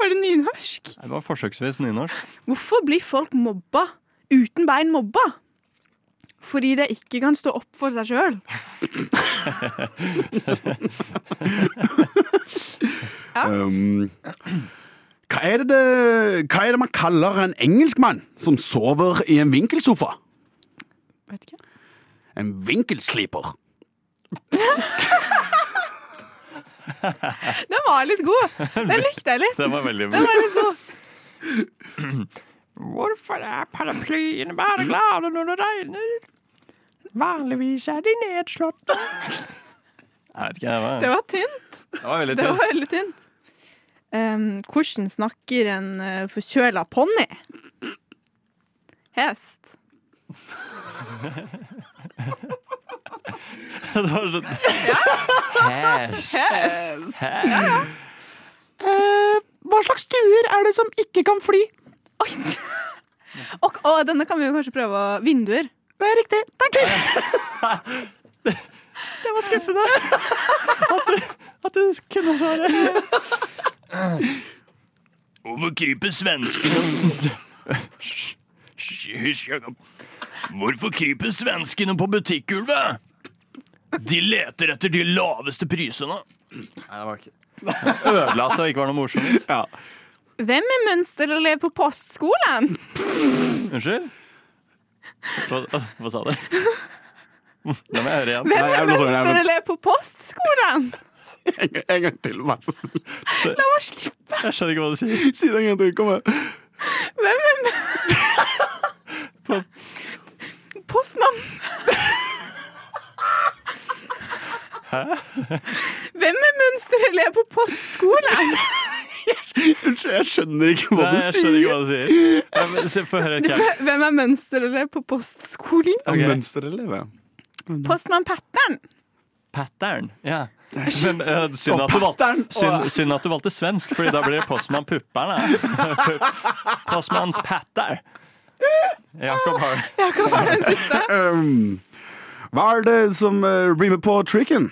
Var det nynorsk?
Det var forsøksvis nynorsk.
Hvorfor blir folk mobba? Uten bein mobba? Fordi de ikke kan stå opp for seg sjøl.
Um, hva, er det, hva er det man kaller en engelskmann som sover i en vinkelsofa?
Vet ikke.
En vinkelsliper.
Den var litt god. Den likte jeg litt.
Den var veldig
Den var litt god.
Hvorfor er paraplyen bare glad når det regner? Vanligvis er de nedslått.
Jeg vet ikke, det var,
Det var tynt.
det var veldig
Det
tynt.
var veldig tynt. Ehm, hvordan snakker en eh, forkjøla ponni? Hest.
Det var sånn Hest.
Hest.
Hest.
Eh, hva slags stuer er det som ikke kan fly? Oi. Og, og denne kan vi jo kanskje prøve å Vinduer. Det er riktig. Takk.
Det var skuffende at du, at du kunne svare.
Hvorfor kryper svenskene Hysj, hysj, Jakob. Hvorfor kryper svenskene på butikkgulvet? De leter etter de laveste prisene.
Nei, det var ikke Ødela at det ikke var noe morsomt.
Hvem er mønsterelev på postskolen?
Unnskyld? Hva, hva sa du? Da må jeg høre igjen.
Hvem er mønsterelev på postskolen?
En gang til, vær så snill.
La meg slippe.
Jeg skjønner ikke hva du sier.
Si det en gang til. Kom her.
Hvem er Postmann.
Hæ?
Hvem er mønsterelev på postskolen?
Unnskyld, jeg skjønner ikke hva
Nei,
du
jeg
sier.
skjønner ikke hva du sier. Nei, men se, Få høre. Okay.
Hvem er mønsterelev på postskolen?
Okay. Mønsterelev, ja.
Postmann Pattern.
Pattern. Ja. Men, eh, synd,
Å,
at du valgte,
pattern. Å.
synd, synd at du valgte svensk, Fordi da blir det postmann Puppern. da. Postmanns Patter. Jakob har
Jakob har den siste.
Um, hva er det som eh, rimer på tricken?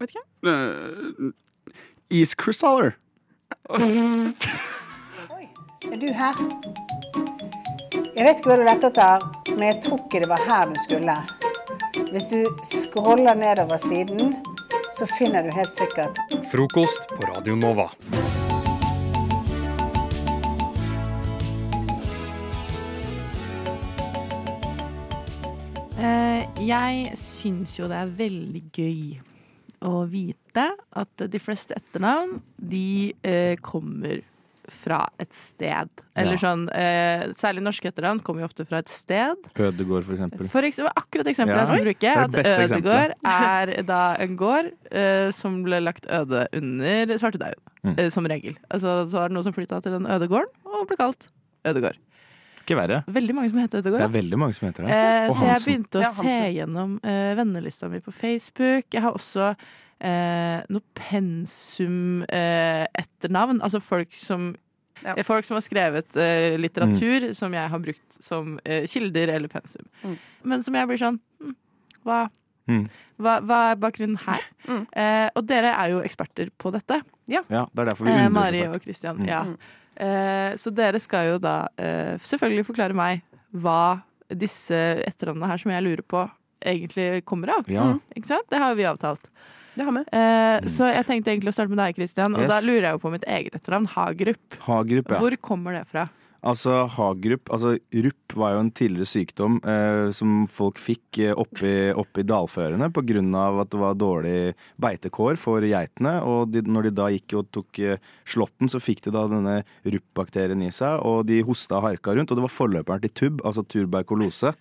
Vet ikke.
Eh, Iskrystaller.
Er du her? Jeg vet ikke hva du lette etter, men jeg tror ikke det var her du skulle. Hvis du scroller nedover siden, så finner du helt sikkert
Frokost på Radio Nova.
Eh, jeg syns jo det er veldig gøy å vite at de fleste etternavn, de eh, kommer fra et sted. Eller
Ja.
sånn eh, Særlig norske etternavn kommer jo ofte fra et sted.
Ødegård, for eksempel.
For eksempel, akkurat eksempelet
Ja.
jeg skulle bruke,
Det er det
at
beste
Ødegård
eksempelet.
er da en gård eh, som ble lagt øde under svartedauden,
Mm.
eh, som regel. Altså, så var det noen som flytta til den ødegården og ble kalt Ødegård.
Ikke verre.
Veldig mange som heter Ødegård.
Det
ja.
er veldig mange som heter det.
Eh,
Og
så jeg
Hansen.
begynte å
Ja,
se
Hansen.
gjennom eh, vennelista mi på Facebook. Jeg har også eh, noe pensum-etternavn. altså folk som eh, Folk som har skrevet eh, litteratur
Mm.
som Mm. jeg har brukt som eh, kilder eller pensum. Men som jeg blir sånn hm, hva,
Mm.
Hva, hva er bakgrunnen her? Eh, og dere er jo eksperter på dette. Ja,
Ja, det er derfor vi
Eh,
undrer
Mari
så fælt.
og Christian.
Mm.
Ja. Eh, så dere skal jo da eh, selvfølgelig forklare meg hva disse etternavnene her som jeg lurer på, egentlig kommer av.
Ja.
Mm. Ikke sant? Det har jo vi avtalt. Eh, så jeg tenkte egentlig å starte med deg, Christian. Og
Yes.
da lurer jeg jo på mitt eget etternavn, Hagerup.
Hagerup, ja.
Hvor kommer det fra?
Altså Hagerup, altså rupp var jo en tidligere sykdom eh, som folk fikk eh, oppi, oppi dalførene pga. at det var dårlig beitekår for geitene. Og de, når de da gikk og tok eh, slåtten, så fikk de da denne rupp-bakterien i seg. Og de hosta og harka rundt, og det var forløperen til tubb, altså tuberkulose.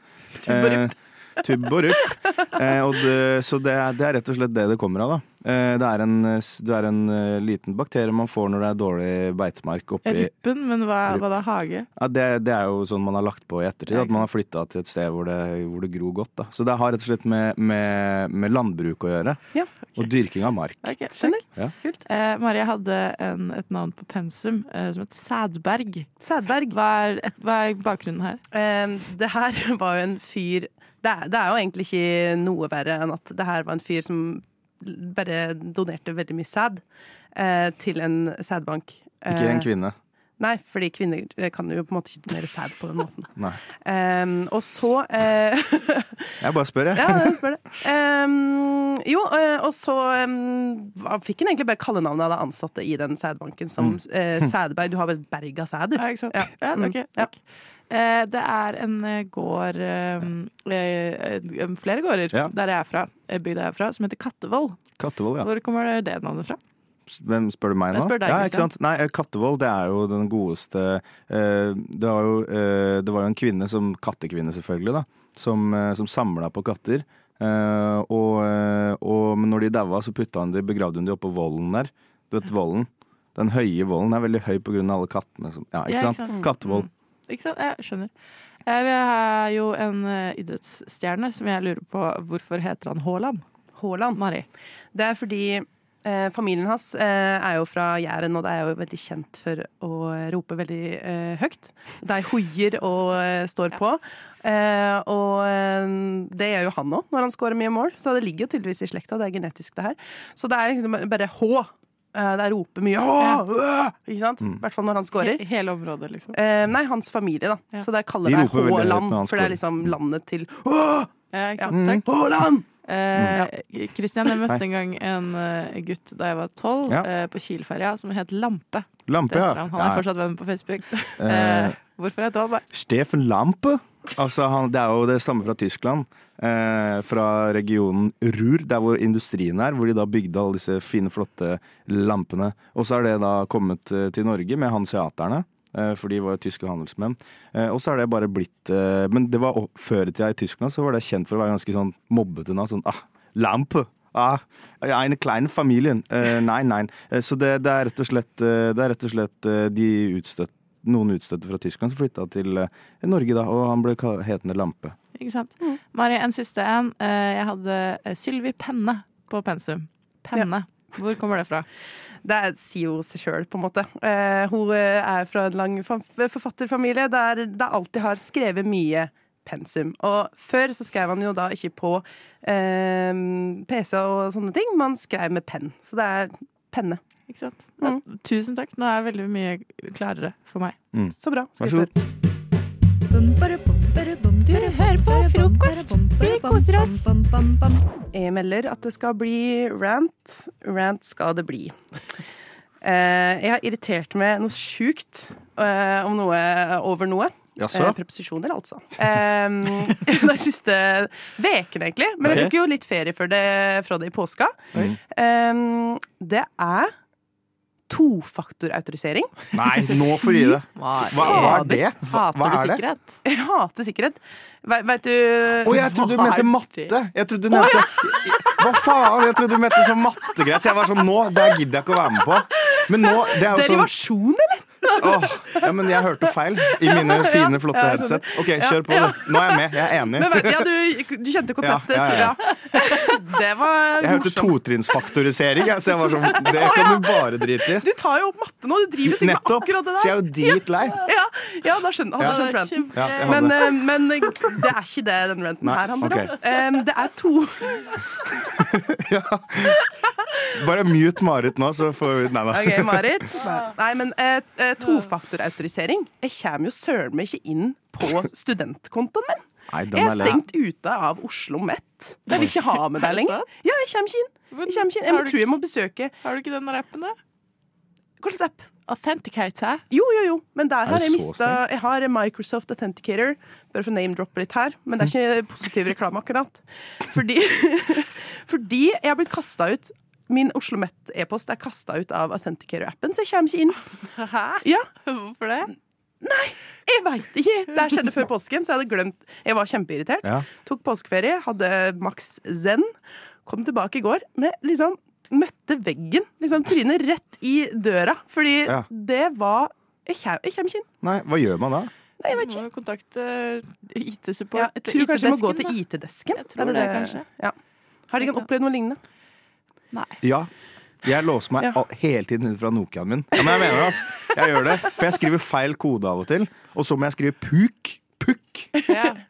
Tubb og rupp.
Eh, Tubb og rupp. Eh, og det, så det er, det er rett og slett det det kommer av, da. Eh, det er en, eh, s- det er en eh, liten bakterie man får når det er dårlig beitemark oppi
Ruppen, men hva, hva da? Hage?
ja, det, det er jo sånn man har lagt på i ettertid,
Ja,
at man har flytta til et sted hvor det, hvor det gror godt. Da. Så det har rett og slett med, med, med landbruk å gjøre.
Ja,
Og dyrking av mark.
Ok, skjønner.
Ja.
Kult. Eh, Marie hadde en, et navn på pensum eh, som het Sædberg. Hva er, et, hva er bakgrunnen her?
Ehm, det her var jo en fyr det er, det er jo egentlig ikke noe verre enn at det her var en fyr som l- bare donerte veldig mye sæd eh, til en sædbank.
Ikke en
Eh,
kvinne.
Nei, fordi kvinner eh, kan jo på en måte ikke donere sæd på den måten.
Nei.
Ehm, og så eh,
Jeg bare spør,
Ja,
jeg.
jeg spør det. Ehm, jo, eh, og så ehm, hva- fikk han egentlig bare kallenavnet av de ansatte i den sædbanken som
Mm.
eh, Sædberg. Du har vel et berg av sæd, du.
Ja, ikke sant? Ja,
Mm.
ok, takk. Eh, det er en eh, gård eh, eh, eh, Flere gårder
Ja.
der jeg er fra, eh, bygda jeg er fra, som heter Kattevoll.
Kattevoll, ja.
Hvor kommer det- det navnet fra?
Hvem spør du meg nå?
Jeg spør deg,
ja, ikke
Christian.
sant? Nei, eh, Kattevoll det er jo den godeste eh, det, var jo, eh, det var jo en kvinne, som kattekvinne selvfølgelig, da, som, eh, som samla på katter. Eh, og, eh, og, men når de daua, så putta hun de, begravde hun de oppå vollen der. Du vet vollen? Den høye vollen er veldig høy pga. alle kattene som Ja, ikke
Ja,
sant? Kattevoll.
Mm. Ikke sant? Jeg skjønner. Eh, vi har jo en eh, idrettsstjerne som jeg lurer på hvorfor heter han Haaland?
Haaland?
Mari?
Det er fordi eh, familien hans eh, er jo fra Jæren, og det er jo veldig kjent for å rope veldig eh, høyt. De hoier og eh, står på. Eh, og eh, det gjør jo han òg, når han scorer mye mål. Så det ligger jo tydeligvis i slekta. Det er genetisk, det her. Så det er liksom bare H. Eh, det er rope mye H! øh, Ikke sant?
Mm.
I hvert fall når han scorer.
He hele området, liksom.
Eh, nei, hans familie, da. Så der kaller
De
de
roper veldig høyt
Haaland,
når han
for det
scorer. Mm.
er liksom landet til Åh!
Ja, ikke
Ja.
sant? Takk.
Haaland!
Eh, Kristian, jeg møtte
Hei.
en gang en eh, gutt da jeg var tolv,
Ja.
eh, på Kielferja, som het Lampe.
Lampe,
Det
ja.
heter Han, han er
Ja.
fortsatt venn på Facebook.
Eh.
Eh, hvorfor heter han det?
Steffen Lampe. Altså, han, det er jo det stammer fra Tyskland. Eh, fra regionen Ruhr, der hvor industrien er. Hvor de da bygde alle disse fine, flotte lampene. Og så er det da kommet eh, til Norge med hanseaterne. eh, For de var jo tyske handelsmenn. Eh, Og så er det bare blitt eh, Men det var o- før i tida i Tyskland så var det kjent for å være ganske sånn mobbete. nå, Sånn ah, lampe! Ah, eine kleine familien. Eh, Nei, nei. Eh, Så det, det er rett og slett, eh, det er rett og slett eh, de utstøtt, noen utstøtte fra Tyskland som flytta til eh, Norge, da. Og han ble ka- hetende Lampe.
Ikke sant?
Mm.
Mari, en siste en. Eh, jeg hadde eh, Sylvi Penne på pensum. Penne. Hvor kommer det fra?
Det er- sier jo seg sjøl, på en måte. Eh, hun eh, er fra en lang fa- forfatterfamilie der det alltid har skrevet mye pensum. Og før så skrev han jo da ikke på eh, PC og sånne ting, man skrev med penn. Så det er penne.
Ikke sant? Tusen takk. Nå er veldig mye klarere for meg.
Så bra.
Vær
så
god.
Du hører på frokost! Vi koser oss!
Jeg melder at det skal bli rant. Rant skal det bli. Eh, jeg har irritert meg noe sjukt eh, om noe, over noe.
Jaså?
Eh, preposisjoner, altså. Eh, de siste vekene, egentlig. Men
Ok.
jeg tok jo litt ferie for det, fra det i påska.
Oi.
Eh, det er tofaktorautorisering.
Nei, nå får du gi det.
Fy
Hva, hva er det?
fader.
Hva, hva er det?
Jeg hater sikkerhet. Ve- Vet du
Å, jeg trodde du
Hva er Eh.
mente matte! Jeg trodde du mente Hva faen? Jeg trodde du mente sånn mattegreier. Så jeg var sånn Nå, det her gidder jeg ikke å være med på. Men nå, det er jo sånn
Derivasjon, eller?
Åh, ja, men jeg hørte feil i mine fine, flotte
Ja, jeg skjønner.
headset. OK,
Ja.
kjør på.
Ja.
Nå er jeg med. Jeg er enig.
Men vet, ja, du, du kjente konseptet.
Ja, ja, ja.
Det var
Jeg hørte
morsomt.
totrinnsfaktorisering, jeg, så jeg var sånn Det kan du bare drite
Du
i.
tar jo opp matte nå. Du driver sikkert med
Nettopp.
akkurat det der.
Så jeg er jo dritlei.
Ja, ja da skjønner hadde
Ja.
jeg skjønt renten.
Ja, jeg hadde.
men, eh, men eh, det er ikke det den renten
Nei,
her handler om.
ok.
Em, det er to
Bare mute Marit nå, så får vi Nei da.
OK, Marit. Nei, men eh, eh, tofaktorautorisering Jeg kommer jo søren meg ikke inn på studentkontoen min.
Nei, den
Jeg er
er lei.
stengt ute av Oslo Met. Jeg vil ikke ha med deg
Er det
lenger.
sant?
Ja, jeg kommer ikke inn. Jeg, kommer ikke inn.
Har
jeg
du-
tror jeg må besøke
Har du ikke den rappen, da?
Hvilken app?
Authenticate, hæ?
Jo, jo, jo, men der
Er
har
det
jeg
så
mista Jeg har Microsoft Authenticator, bare for å name-droppe litt her, men det er ikke positiv reklame akkurat. Fordi, fordi jeg har blitt kasta ut. Min Oslo Met e-post er kasta ut av Authenticator-appen, så jeg kommer ikke inn.
Hæ?
Ja.
Hvorfor det?
Jeg veit ikke! Det her skjedde før påsken, så jeg hadde glemt Jeg var kjempeirritert.
Ja.
Tok påskeferie, hadde maks zen. Kom tilbake i går med liksom Møtte veggen. Liksom trynet rett i døra. Fordi
Ja.
det var Jeg kjem- jeg kommer ikke inn.
Nei, hva gjør man da?
Nei, jeg vet
ikke. Du må jo kontakte
Ja,
IT-support.
jeg tror kanskje jeg må gå
IT-desken,
til
da.
IT-desken.
Jeg tror det, kanskje.
Ja. Har dere opplevd noe lignende?
Ja. Jeg låser meg al- hele tiden ut fra Nokiaen min. Ja, men jeg mener det, ass. Jeg gjør det. For jeg skriver feil kode av og til. Og så må jeg skrive puk.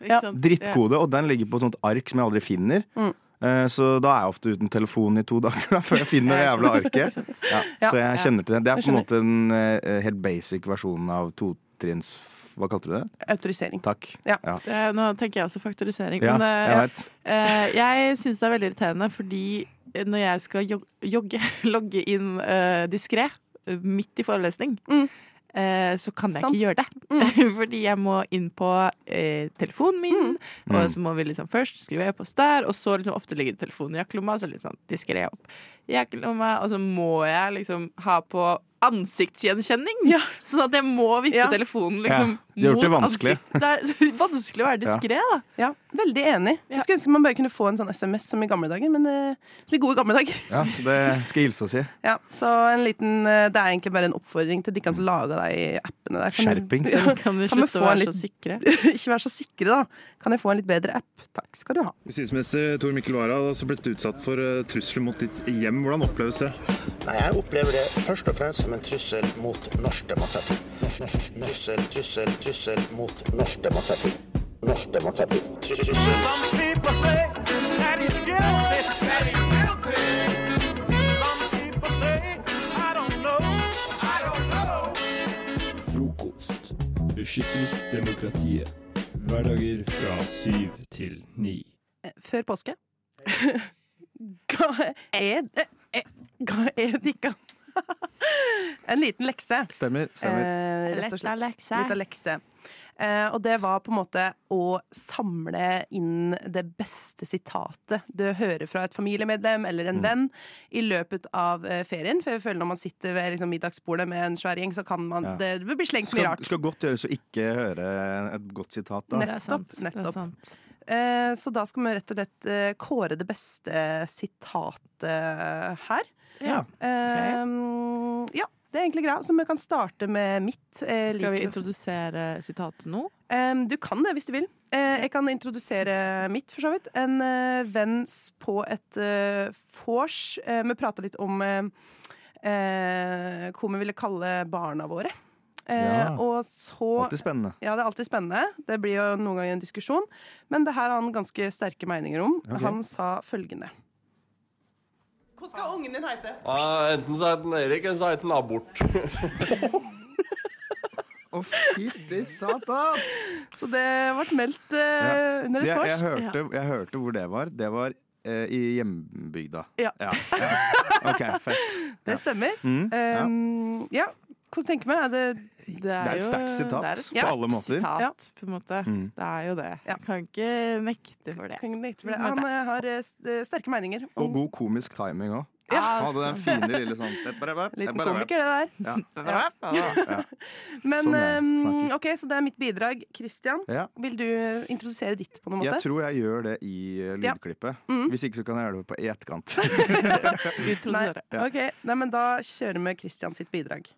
Ja.
Drittkode. Og den ligger på et sånt ark som jeg aldri finner.
Mm.
Eh, Så da er jeg ofte uten telefon i to dager da, før jeg finner det
Ja,
jævla
ikke
arket.
sant.
Ja,
Ja.
så jeg kjenner til det. Det
sånn.
er
Jeg
på en måte en eh, helt basic versjon av totrinns... Hva kalte du det?
Autorisering.
Takk.
Ja.
Det, nå tenker jeg også faktorisering.
Ja,
men eh,
jeg
ja.
vet.
Eh, jeg syns det er veldig irriterende fordi når jeg skal jog jogge, logge inn uh, diskré midt i forelesning, eh, så kan jeg
Sant.
ikke gjøre det. Fordi jeg må inn på eh, telefonen min,
Mm.
og så må vi liksom først skrive e-post der, og så liksom ofte ligger telefonen i jakkelomma, så litt sånn diskré opp i jakkelomma, og så må jeg liksom ha på ansiktsgjenkjenning, sånn at jeg må vippe telefonen liksom
Ja, de har gjort det
mot
vanskelig.
ansikt. Det er vanskelig å være
Ja.
diskré, da.
Ja, veldig enig. Jeg skulle ønske man bare kunne få en sånn SMS som i gamle dager, men eh, som i gode gamle dager.
Ja, så det skal jeg hilse og si.
Ja, så en liten, eh, Det er egentlig bare en oppfordring til de som laga de appene der.
Skjerpings.
Kan vi
sånn- vi
slutte å
få en
være
litt-
så sikre?
Ikke være så sikre, da. Kan jeg få en litt bedre app? Takk skal du ha.
Justisminister Tor Mikkel Wara har også blitt utsatt for eh, trusler mot ditt hjem. Hvordan oppleves det?
Nei, Jeg opplever det først og fremst som en trussel mot norsk demokrati. Norsk, norsk, Trussel, trussel, trussel mot norsk demokrati. Norsk demokrati. Trussel.
Frokost. Beskytter demokratiet. Hverdager fra syv til ni.
Eh, Før påske ga jeg, eh, eh, ga jeg dikka en liten lekse.
Stemmer. stemmer.
Eh, rett og
Litt av
slett.
lekse.
Litt av lekse. Eh, og det var på en måte å samle inn det beste sitatet du hører fra et familiemedlem eller
Mm.
en venn i løpet av eh, ferien. For jeg føler når man sitter ved liksom, middagsbordet med en svær gjeng, så kan man
Ja.
det, det blir slengt mye
Skal,
rart.
skal godt gjøres å ikke høre et godt sitat, da.
Nettopp. nettopp. Eh, så da skal vi rett og slett eh, kåre det beste sitatet her.
Ja.
Eh, ja. Det er egentlig greia. Så vi kan starte med mitt. eh,
Skal vi
like-
introdusere sitatet nå?
Em, du kan det hvis du vil. Eh, jeg kan introdusere mitt, for så vidt. En eh, venn s- på et eh, vors. Eh, vi prata litt om eh, eh, hva vi ville kalle barna våre. Eh,
Ja.
Og så
Alltid spennende.
Ja, det er alltid spennende. Det blir jo noen ganger en diskusjon. Men det her har han ganske sterke meninger om.
Ok.
Han sa følgende. Hva skal ungen din hete?
Ja, enten så heter den Erik, eller så heter den Abort.
Å, fytti satan!
Så det ble meldt eh, under et
Jeg,
vors.
jeg, hørte, jeg hørte hvor det var. Det var eh, i hjembygda.
Ja.
OK, fett.
Det stemmer.
Mm, ja.
Um, ja. Hvordan tenker vi? Er det
Det
er et
jo-
sterkt sitat
det er et
på alle måter.
Sitat,
Ja.
på en måte.
Mm.
Det er jo det. Kan ikke nekte Eh, for det.
Kan ikke nekte for det.
Men
Han eh, har eh, s- eh, sterke meninger.
Og god komisk timing òg.
Ja.
Hadde den fine lille sånn
Liten komiker, det
Ja.
der. Ja.
Ja.
Men
Sånn er
eh, OK, så det er mitt bidrag. Christian,
Ja.
vil du introdusere ditt på noen måte?
Jeg tror jeg gjør det i eh,
Ja.
lydklippet.
Mm.
Hvis ikke så kan jeg gjøre det på i etterkant.
Nei.
Ja.
Ok, Nei, men da kjører vi Christian sitt bidrag.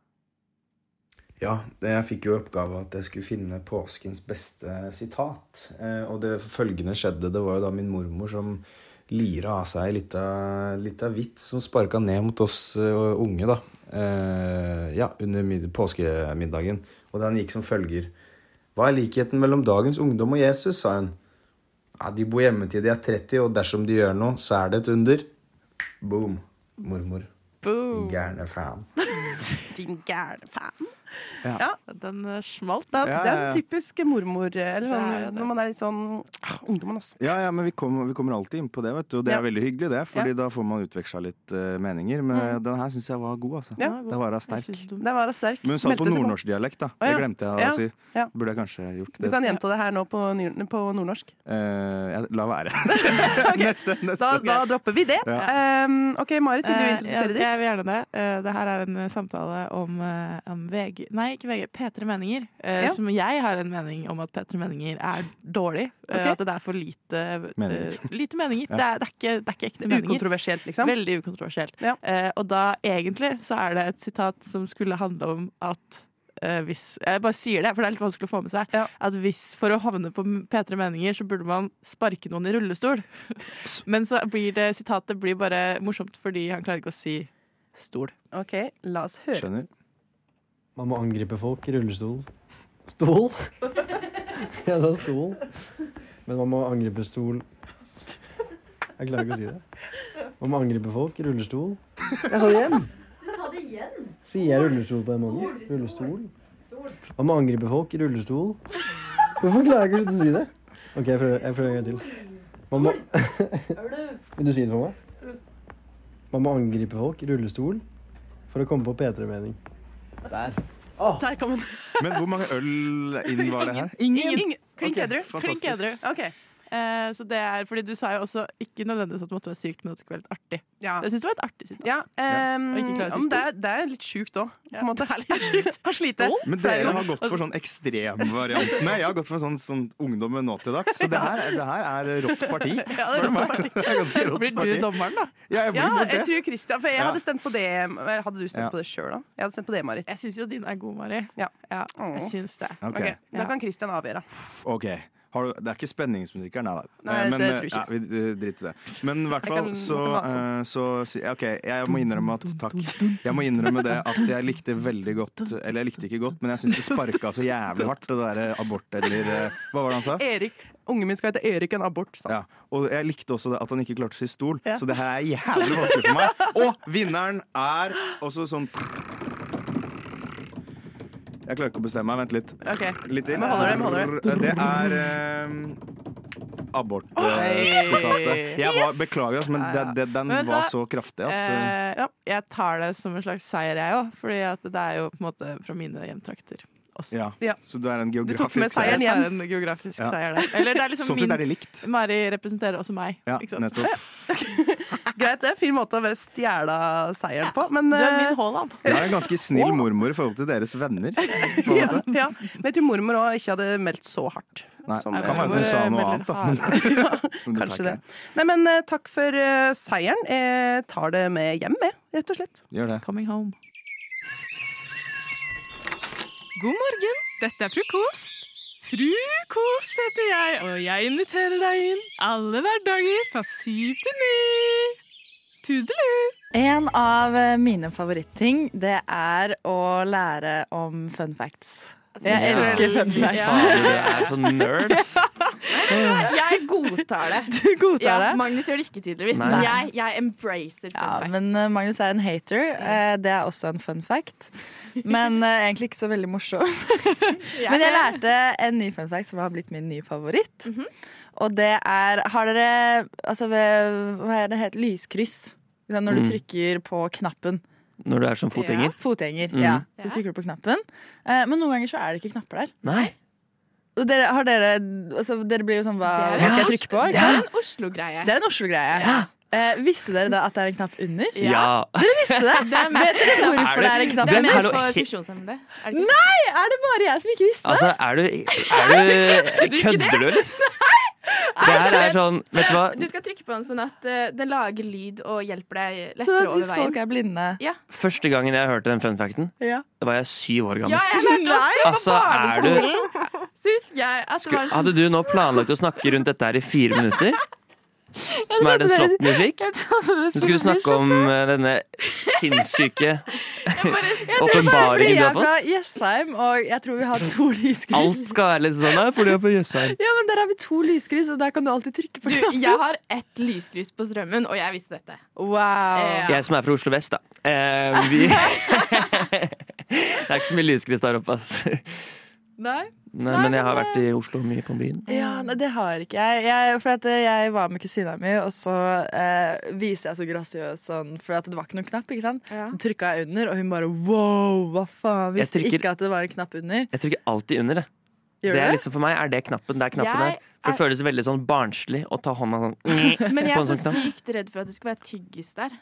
Ja, det- jeg fikk jo i oppgave at jeg skulle finne påskens beste sitat. Eh, Og det følgende skjedde. Det var jo da min mormor som lira av seg ei lita, lita vits som sparka ned mot oss eh, unge, da. Eh, Ja, under mid påskemiddagen. Og den gikk som følger. Hva er likheten mellom dagens ungdom og Jesus, sa hun. Ja, de bor hjemme til de er 30, og dersom de gjør noe, så er det et under. Boom. Mormor.
Mm.
Boom.
Gærne faen.
Din gærne faen.
Ja.
Ja.
Den eh, smalt,
Det
den.
er- Det er så typisk mormor, eller sånn, når man er litt sånn ah, Ungdommen, altså.
Ja, ja, men vi, kommer- vi kommer alltid inn på det, vet du. Og det
Ja.
er veldig hyggelig, det. Fordi
Ja.
da får man utveksla litt eh, meninger. Men
Mm.
den her syns jeg var god, altså.
Ja.
Den var da sterk.
Det var sterk.
Men hun sa det på
Meldte seg
nordnorskdialekt, da.
Å,
Det
ja.
glemte jeg
Ja.
å si.
Ja.
Burde jeg kanskje gjort
Du
det.
kan gjenta det her nå på, ny- på nordnorsk.
Eh, jeg, la være. Neste. neste.
Da, da dropper vi det.
Ja.
Ehm, OK, Marit, vil du
Eh,
introdusere
jeg,
ditt?
Jeg vil gjerne det. Eh, det her er en eh, samtale om, eh, om VG Nei, ikke VG. P3 Meninger. eh,
Ja.
Som jeg har en mening om at P3 Meninger er dårlig. eh,
Ok.
At det er for lite eh,
Meninger.
lite meninger.
Ja.
Det, er, det, er ikke, det er ikke ekte meninger.
Ukontroversielt, liksom?
Veldig ukontroversielt. Eh, og da egentlig så er det et sitat som skulle handle om at eh, hvis, jeg bare sier det, for det er litt vanskelig å få med seg. At hvis For å havne på P3 Meninger, så burde man sparke noen i rullestol. Men så blir det sitatet blir bare morsomt fordi han klarer ikke å si stol.
OK, la oss høre.
Man må angripe folk i rullestol. Stol? Jeg sa stol. Men man må angripe stol Jeg klarer ikke å si det. Man må angripe folk i rullestol. Jeg sa det igjen!
Du sa det igjen.
Sier jeg rullestol på den måten? Rullestol. Man må angripe folk i rullestol. Hvorfor klarer jeg ikke å slutte å si det? OK, jeg prøver, jeg prøver en gang til. Man må Vil du si det for meg? Man må angripe folk i rullestol for å komme på P3-mening. Der.
Der kom den.
Men hvor mange øl inn var det her?
Ingen. Klink
Ok,
edru.
Klink edru. Eh, så det er, fordi Du sa jo også ikke nødvendigvis at det måtte være sykt, men at det skulle være litt artig.
Ja.
Jeg syns det var et artig sitat.
Ja, ehm,
Og ikke klare å si
ja, men det,
stol.
er, det er litt sjukt òg. Har slitt det.
Men dere har gått for sånn ekstremvariantene. Jeg har gått for sånn, sånn ungdommen nå til dags. Så det her, er- det her er rått parti.
Ja, det er
Spør du meg.
rått
Det er ganske rått
Blir du
parti.
dommeren, da?
Ja, jeg blir
ja,
fort
jeg
det.
tror Christian, for jeg
Ja.
hadde stemt på det. Eller hadde du stemt
Ja.
på det sjøl, da? Jeg hadde stemt på det, Marit.
Jeg syns jo din er god, Mari.
Ja.
jeg
Åh.
syns det.
Ok.
Ok, Da
Ja.
kan Christian avgjøre.
Ok, har du, Det er ikke spenningsmusikk her, nei da.
Nei,
Eh,
det
Men,
tror jeg
eh, ja,
ikke.
vi eh, driter i det. Men i hvert
Jeg
fall
kan- sånn.
så,
jeg kan late
eh, så si- OK, jeg må innrømme at Takk. Jeg må innrømme det at jeg likte veldig godt Eller jeg likte ikke godt, men jeg syns det sparka så jævlig hardt, det derre abort eller eh, Hva var det han sa?
Erik, Ungen min skal hete Erik en abort, sa
Ja. Og jeg likte også det at han ikke klarte å si stol,
Ja.
så det her er jævlig vanskelig for meg. Og vinneren er også sånn Jeg klarer ikke å bestemme meg. Vent litt.
Ok.
Litt til.
Men holder det, men holder det.
Det er eh, abortsitatet. Jeg var,
Yes!
beklager, altså, men
Ja,
det,
ja.
det, den
Men vet du
var
hva?
så kraftig at eh,
Eh, Jeg tar det som en slags seier, jeg òg. For det er jo på en måte fra mine hjemtrakter.
ja. Så det er en
Du
geografisk
tok med seieren
seier.
hjem. Det er en geografisk
Ja.
seier, det. Eller det er liksom
Sånn sett
min-
er de likt.
Mari representerer også meg.
Ja,
ikke sant?
nettopp.
Greit, det er en fin måte å bare stjele seieren på, men
Du er
eh,
min Haaland.
Det er en ganske snill mormor i forhold til deres venner.
ja, ja. Men jeg tror mormor òg ikke hadde meldt så hardt.
Nei,
Som, eh,
det kan være at hun sa noe annet, da. Men, men
Kanskje
takk,
det. Nei, men eh, takk for eh, seieren. Jeg tar det med hjem, jeg, rett og slett.
Gjør det.
Coming home. God morgen, dette er frokost. Frukost heter jeg, og jeg inviterer deg inn alle hverdager fra syv til ni. Tudelu!
En av eh, mine favoritting, det er å lære om fun facts. Jeg
Ja.
elsker fun
Fy
facts.
fader, dere er sånn så nerds.
Jeg godtar det.
Du godtar
ja,
det?
Magnus gjør det ikke, tydeligvis.
Nei.
Men jeg, jeg embracer fun
Ja,
fact.
men eh, Magnus er en hater. Eh, Det er også en fun fact. Men eh, egentlig ikke så veldig morsom. Men jeg lærte en ny fun fact som har blitt min nye favoritt.
Mhm.
Og det er Har dere altså, ved- Hva er det het? Lyskryss. Ikke sant, Når du
Mm.
trykker på knappen.
Når du er som fotgjenger?
Ja, fotgjenger,
Mm.
ja. Så trykker du på knappen. Eh, Men noen ganger så er det ikke knapper der.
Nei.
Og dere, har dere, altså, dere blir jo sånn Hva,
Det er
hva skal jeg
en
trykke på?
Os-
Ikke
Det er
sant?
en Oslo-greie.
Det er en Oslo-greie. Eh, visste dere da at det er en knapp under?
Ja.
Dere visste det?
Det er mer-
Vet dere hvorfor det er en knapp
Det er
Den er
mer
jo
for
he-
funksjonshemmede. Er det ikke?
Nei! Er det bare jeg som ikke visste det?
Altså, er du, er du Kødder du, eller?
Nei,
her
så
er sånn, vet du hva?
Du skal trykke på den sånn at eh, den lager lyd og hjelper deg lettere
Så at
over veien.
hvis folk er blinde
Ja.
Første gangen jeg hørte den fun facten,
Ja.
da var jeg syv år
Ja,
gammel.
jeg lærte å se på
Altså, er du-
barneskolen. Så husker jeg at det var sånn-
Hadde du nå planlagt å snakke rundt dette her i fire minutter? Som er den snotten du fikk? Du skulle snakke om eh, denne sinnssyke åpenbaringen du har
Jeg er
fått.
fra Jessheim, og jeg tror vi har to lysgris.
Alt skal være litt sånn her, fordi jeg er fra Jessheim.
Ja, men der har vi to lysgris, og der kan du alltid trykke på
Du, jeg har ett lysgrus på strømmen, og jeg visste dette. Eh,
Wow.
Jeg som er fra Oslo vest, da. Eh, vi Det er ikke så mye lysgress der oppe, ass.
Nei.
Nei, men jeg har vært i Oslo mye på byen.
Ja, nei, det har ikke jeg. jeg for at eh, jeg var med kusina mi, og så eh, viser jeg så grasiøs sånn, for at det var ikke noen knapp, ikke sant? Så trykka jeg under, og hun bare wow, hva faen?
Jeg
Visste
trykker-
ikke at det var en knapp under.
Jeg trykker alltid under, det.
Gjør
det
du
er
det?
liksom For meg er det knappen. Det er knappen
Jeg
der. For det føles veldig sånn barnslig å ta hånda sånn
Men jeg er
på en
så
sånn knapp.
sykt redd for at det skulle være tyggis der.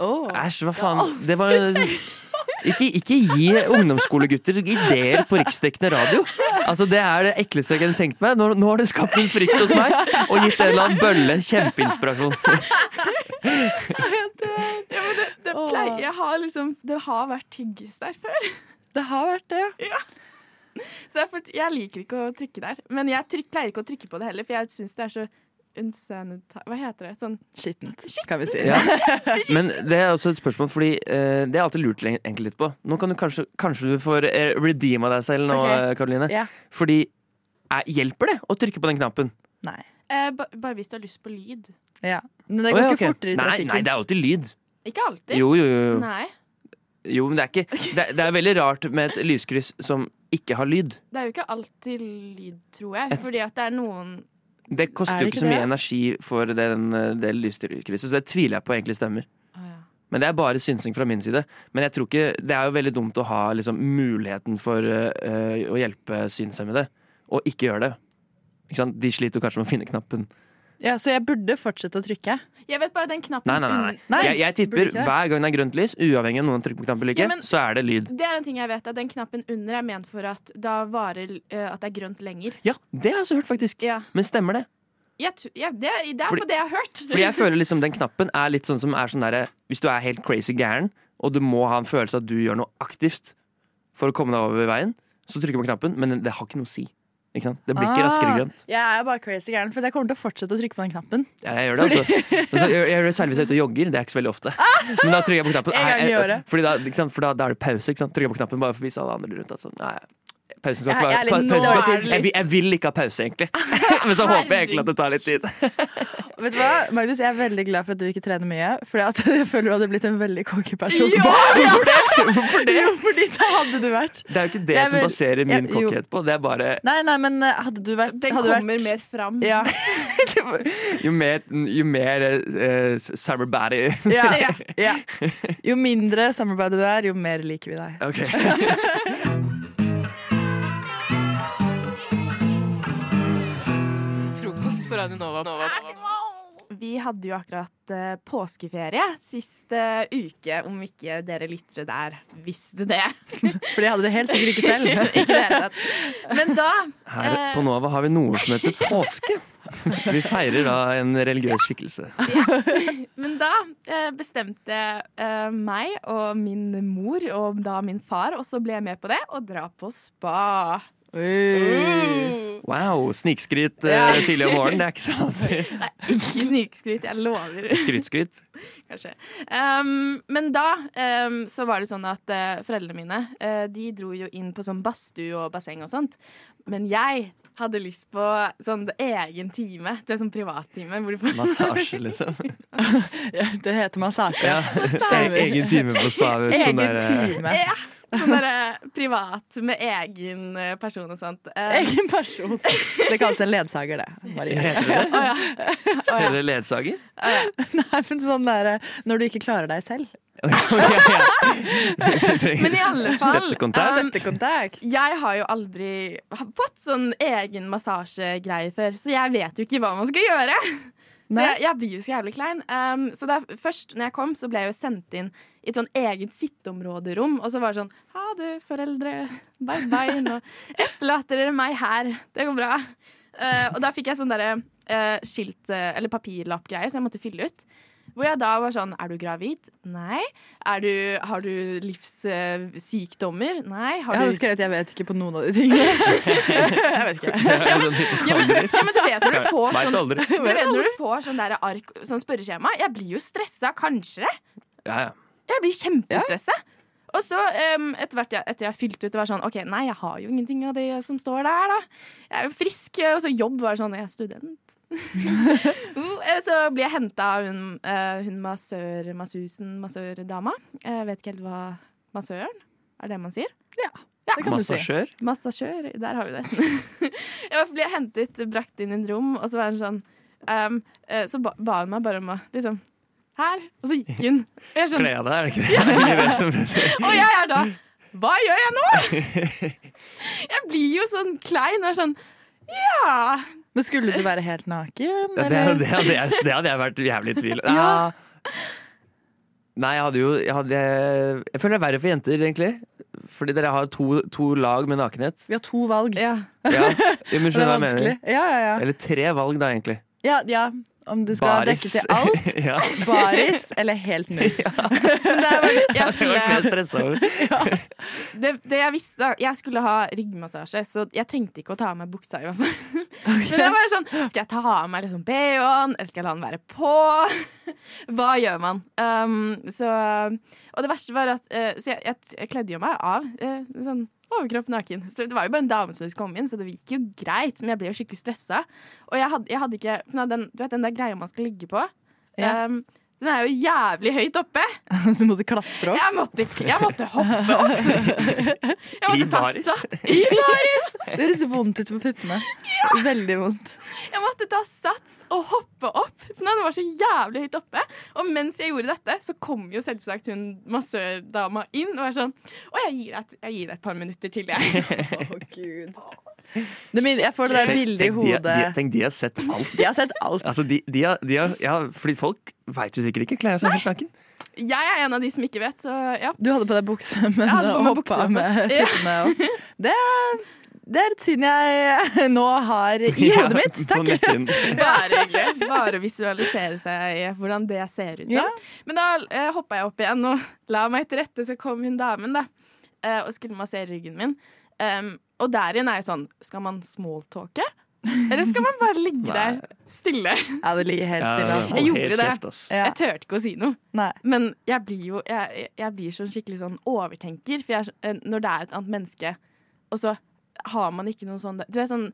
Æsj, hva faen. Det var ikke, ikke gi ungdomsskolegutter ideer på riksdekkende radio. Altså, Det er det ekleste jeg kunne tenkt meg. Nå, nå har det skapt en frykt hos meg og gitt en eller annen bølle kjempeinspirasjon.
Ja, men det, det,
Åh.
pleier, jeg har liksom, det har vært tyggis der før.
Det har vært det,
ja. Så jeg, får- jeg liker ikke å trykke der. Men jeg tryk, pleier ikke å trykke på det heller, for jeg syns det er så unsanitær... Hva heter det? Sånn
Skittent, skal vi si.
Ja. Men det er også et spørsmål, fordi eh, det er alltid lurt le- egentlig litt på. Nå kan du kanskje, kanskje du får eh, redeema deg selv nå,
Ok.
eh, Karoline.
Ja.
Fordi eh, hjelper det å trykke på den knappen?
Eh, ba, bare hvis du har lyst på lyd.
Ja. Men
Å, ja, ok. nei, nei, det er jo alltid lyd.
Ikke alltid.
Jo, jo, jo.
Nei,
Jo, men det er ikke Det er, det er veldig rart med et lyskryss som ikke har lyd.
det er jo ikke alltid lyd, tror jeg.
Et-
Fordi at det er noen
Det koster
Er
jo
det
ikke
ikke
så mye
det?
energi for det, den, eh, det lyskrysset, så det tviler jeg på egentlig stemmer. Men det er bare synsing fra min side. Men jeg tror ikke, det er jo veldig dumt å ha liksom, muligheten for eh, eh, å hjelpe synshemmede, og ikke gjøre det. Ikke sant? De sliter jo kanskje med å finne knappen.
Ja, Så jeg burde fortsette å trykke.
Jeg vet bare den knappen
Nei, nei, nei.
un-
nei. Jeg, jeg tipper
burde ikke Mm, det.
hver gang det er grønt lys, uavhengig av om noen trykker på knappen eller ikke,
Ja, men-
så er det lyd.
Det er en ting jeg vet, at den knappen under er ment for at da varer eh, at det er grønt lenger.
Ja, det har jeg også hørt, faktisk. Men stemmer det?
Jeg, tr- ja, det, det er
Fordi-
på det jeg har hørt.
Fordi jeg føler liksom den knappen er litt sånn som er sånn derre Hvis du er helt crazy gæren, og du må ha en følelse av at du gjør noe aktivt for å komme deg over veien, så trykker du på knappen, men det har ikke noe å si. Ikke sant? Det blir
Ah.
ikke raskere grønt.
Jeg er bare crazy gæren, for jeg kommer til å fortsette å trykke på den knappen.
Jeg, jeg gjør det, altså. Men så, jeg, jeg gjør det særlig hvis jeg er ute og jogger. Det er ikke så veldig ofte. Men da trykker jeg på knappen.
En gang i
Nei, jeg-
året.
Fordi da, ikke sant? For da, da er det pause. Ikke sant? Trykker jeg på knappen bare for å vise alle andre rundt at sånn, nei, pausen skal ikke
Jeg-
være
jeg er litt-
pa-
nå
pausen skal-
er det
jeg, vil- jeg vil ikke ha pause, egentlig. Men så håper jeg egentlig at det tar litt tid.
Vet du hva, Magnus, jeg er veldig glad for at du ikke trener mye, for jeg føler du hadde blitt en veldig kongeperson.
Ja! Hvorfor det? Hvorfor det?
Jo, fordi da hadde du vært
Det er jo ikke det
Jeg
som
vil-
baserer min
jeg- jo.
kokkhet på. Det er bare
Nei, nei, men eh, hadde du vært
Den
hadde du
kommer
vært,
mer fram.
Ja.
Jo mer, jo mer eh, summer body
Ja, ja. Jo mindre samarbeid du er, jo mer liker vi deg.
Ok.
Frokost på Radio Nova. Nova, Nova.
Vi hadde jo akkurat eh, påskeferie sist eh, uke, om ikke dere lyttere der visste det.
For det hadde du helt sikkert ikke selv.
ikke det hele tatt. Men da
Her
eh,
på Nova har vi noe som heter påske. Vi feirer da en religiøs skikkelse.
Men da eh, bestemte eh, meg og min mor og da min far også ble med på det, å dra på spa. Mm.
Wow, snikskryt eh,
Ja.
tidlig om morgenen, det er ikke sant?
Nei, ikke snikskryt, jeg lover.
Skrytskryt.
Kanskje. Um, men da um, så var det sånn at eh, foreldrene mine eh, De dro jo inn på sånn badstue og basseng og sånt. Men jeg hadde lyst på sånn egen time. Du er sånn privattime. hvor du får-
Massasje, liksom.
Det heter massasje.
Ja. e-,
Stemmer.
Egen time på spa. vet du, sånn
Egen
der, eh,
time.
Ja, sånn derre privat med egen eh, person og sånt. Eh,
Egen person. Det kalles en ledsager, det. Marie.
Heter det det? Heter det ledsager?
Nei, men sånn der, når du ikke klarer deg selv.
Men i alle fall
Støttekontakt.
um, Jeg har jo aldri fått sånn egen massasjegreie før, så jeg vet jo ikke hva man skal gjøre. Så
Nei.
jeg, jeg blir jo så jævlig klein. Um, så da, først når jeg kom, så ble jeg jo sendt inn i et sånn eget sitteområderom. Og så var det sånn Ha det, foreldre. Bye bye. Nå etterlater dere meg her. Det går bra. Eh, og da fikk jeg sånn derre eh, skilt eh, Eller papirlappgreie som jeg måtte fylle ut. Hvor jeg da var sånn Er du gravid? Nei. Er du, har du livssykdommer? Nei.
Jeg
Har
hadde
du
skrevet 'jeg vet ikke' på noen av de tingene. jeg vet ikke.
ja, men, ja, men du vet når du får
Vet
sånn
aldri.
Du vet når du får sånn der ark Sånn spørreskjema. Jeg blir jo stressa, kanskje.
Ja, ja.
Jeg blir kjempestressa. Og så em, etter hvert jeg, etter jeg fylte ut og var sånn OK, nei, jeg har jo ingenting av det som står der, da. Jeg er jo frisk. Og så jobb var sånn, jeg er student. Uh, eh, så blir jeg henta av hun, eh, hun massør, massøsen, massørdama. Jeg vet ikke helt hva massøren Er det man sier? Ja.
det kan du si. Massasjør?
Massasjør. Der har vi det. jeg ble hentet, brakt inn i et rom, og så var hun sånn em, eh, Så ba, ba hun meg bare om å liksom her. Og så gikk hun. Og jeg
Kle av deg, er det ikke det? Er det ikke det som blir sagt?
og jeg er da Hva gjør jeg nå?! Jeg blir jo sånn klein og er sånn Ja!
Men skulle du være helt naken?
Ja, det,
eller?
det, hadde jeg, det hadde jeg vært jævlig i tvil om. Ah.
Ja.
Nei, jeg hadde jo jeg, hadde, jeg føler det er verre for jenter, egentlig. Fordi dere har to, to lag med nakenhet.
Vi har to valg. Ja,
Ja, men
Det er
skjønner hva jeg
vanskelig.
mener.
Ja, ja, ja.
Eller tre valg, da, egentlig.
ja, ja. Om du skal
Baris.
dekke til alt.
ja.
Baris eller helt null.
Det
Jeg
var ikke jeg
skulle,
stresset over.
det, det jeg visste da, Jeg skulle ha ryggmassasje, så jeg trengte ikke å ta av meg buksa. i hvert fall Men jeg var sånn Skal jeg ta av meg liksom BH-en, eller skal jeg la den være på? Hva gjør man? Um, så, og det verste var at eh, Så jeg, jeg, jeg kledde jo meg av. eh, sånn Overkropp naken. Så det var jo bare en dame som kom inn, så det gikk jo greit. Men jeg ble jo skikkelig stressa. Og jeg hadde, jeg hadde ikke for den, Du vet den der greia man skal ligge på?
Ja.
Um, den er jo jævlig høyt oppe.
Du måtte klatre opp.
Jeg måtte, jeg måtte hoppe opp. Jeg måtte ta satt.
I baris! Det høres vondt ut på puppene. Veldig vondt.
Jeg måtte ta sats og hoppe opp. For den var så jævlig høyt oppe. Og mens jeg gjorde dette, så kom jo selvsagt hun massørdama inn og var sånn Å, jeg gir deg et, jeg gir deg et par minutter til, jeg.
Det min- jeg får det der
Tenk-
bildet i
tenk de- De,
hodet.
tenk, de har sett alt.
De har sett alt.
Altså, de, de har, de har, ja, fordi folk veit jo sikkert ikke. Kler seg helt naken.
Jeg er en av de som ikke vet, så ja.
Du hadde på deg bukse, men
Jeg hadde på meg
hoppa
bukse.
med
Ja.
puppene. opp. Det, Eh, det er et syn jeg nå har i hodet mitt. Takk.
Bare hyggelig. Bare visualisere seg i hvordan det ser ut som.
Ja.
Men da eh, hoppa jeg opp igjen og la meg til rette, så kom hun damen da, eh, og skulle massere ryggen min. Em, og der igjen er jo sånn Skal man smalltalke? Eller skal man bare ligge der stille?
Ja, det ligger helt
Ja, ja,
stille.
ja.
Altså.
Jeg gjorde det.
Ja.
Jeg turte ikke å si noe. Men jeg blir jo jeg, jeg blir sånn skikkelig sånn overtenker for jeg, er så- eh, når det er et annet menneske, og så har man ikke noe sånn Du vet sånn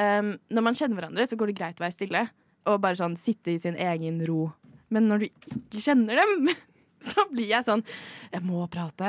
ehm, Når man kjenner hverandre, så går det greit å være stille og bare sånn sitte i sin egen ro. Men når du ikke kjenner dem, så blir jeg sånn Jeg må prate.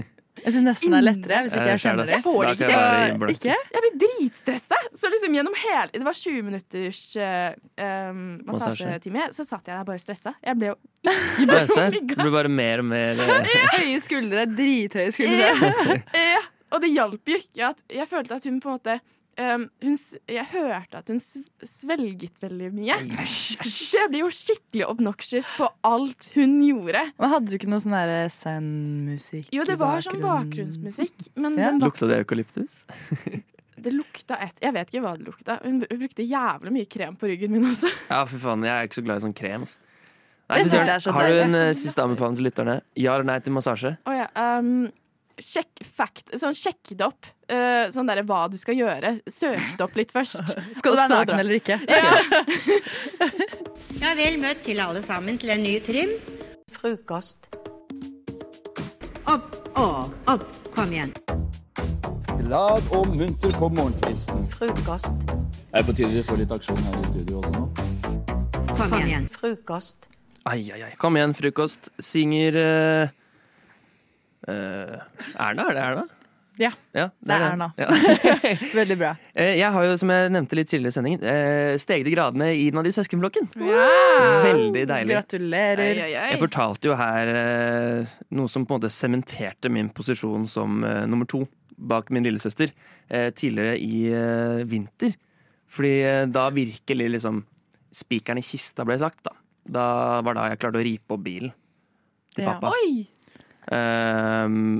Jeg syns nesten det er lettere hvis ikke
Ja,
jeg kjenner
det.
det.
Jeg får det
Da kan jeg være
ikke.
innblandet.
Ikke?
Jeg blir dritstressa! Så liksom gjennom hele Det var 20 minutters eh, ehm,
Massasje.
massasjetime, så satt jeg der bare stressa. Jeg ble jo
Ja, jeg ser. Det blir bare mer og mer eh,
Høye skuldre. Drithøye skuldre.
Ja. Ja. Og det hjalp jo ikke at jeg følte at hun på en måte ehm, hun, s- Jeg hørte at hun sv- svelget veldig mye. Så jeg ble jo skikkelig obnoxious på alt hun gjorde.
Men hadde du ikke noe sånn derre zen-musikk
Jo, det
i
var sånn
bakgrunnen?
bakgrunnsmusikk, men
Ja.
den var
Lukta det eukalyptus?
Det lukta et Jeg vet ikke hva det lukta. Hun br- brukte jævlig mye krem på ryggen min også.
Ja, fy faen, jeg er ikke så glad i sånn krem. Altså.
Jeg
du
synes
har-
det er så
har du
deilig.
en eh, siste anbefaling til lytterne? Ja eller nei til massasje?
Å ja, ehm, sjekk fact Sånn sjekk det opp. eh, sånn derre hva du skal gjøre. Søk det opp litt først.
Skal du
Og
være
så
naken
dra.
eller ikke?
Ja, vel møtt til alle sammen til en ny trim. Frokost. Opp og opp. Kom igjen.
Glad og munter på morgenkvisten.
Frokost.
Det er på tide vi får litt aksjon her i studio også nå.
Kom igjen. Frokost.
Ai, ai, ai. Kom igjen, frokost. Synger eh, eh, Erna, er det Erna?
Ja.
Ja,
Det er Erna.
Ja.
Veldig bra.
Eh, Jeg har jo, som jeg nevnte litt tidligere i sendingen, eh, steget i gradene i den av de søskenflokken. Veldig deilig.
Gratulerer.
Jeg fortalte jo her eh, noe som på en måte sementerte min posisjon som eh, nummer to bak min lillesøster eh, tidligere i eh, vinter. Fordi eh, da virkelig liksom spikeren i kista ble sagt, da. Da var da jeg klarte å ripe opp bilen til
Ja.
pappa.
Oi!
Ehm,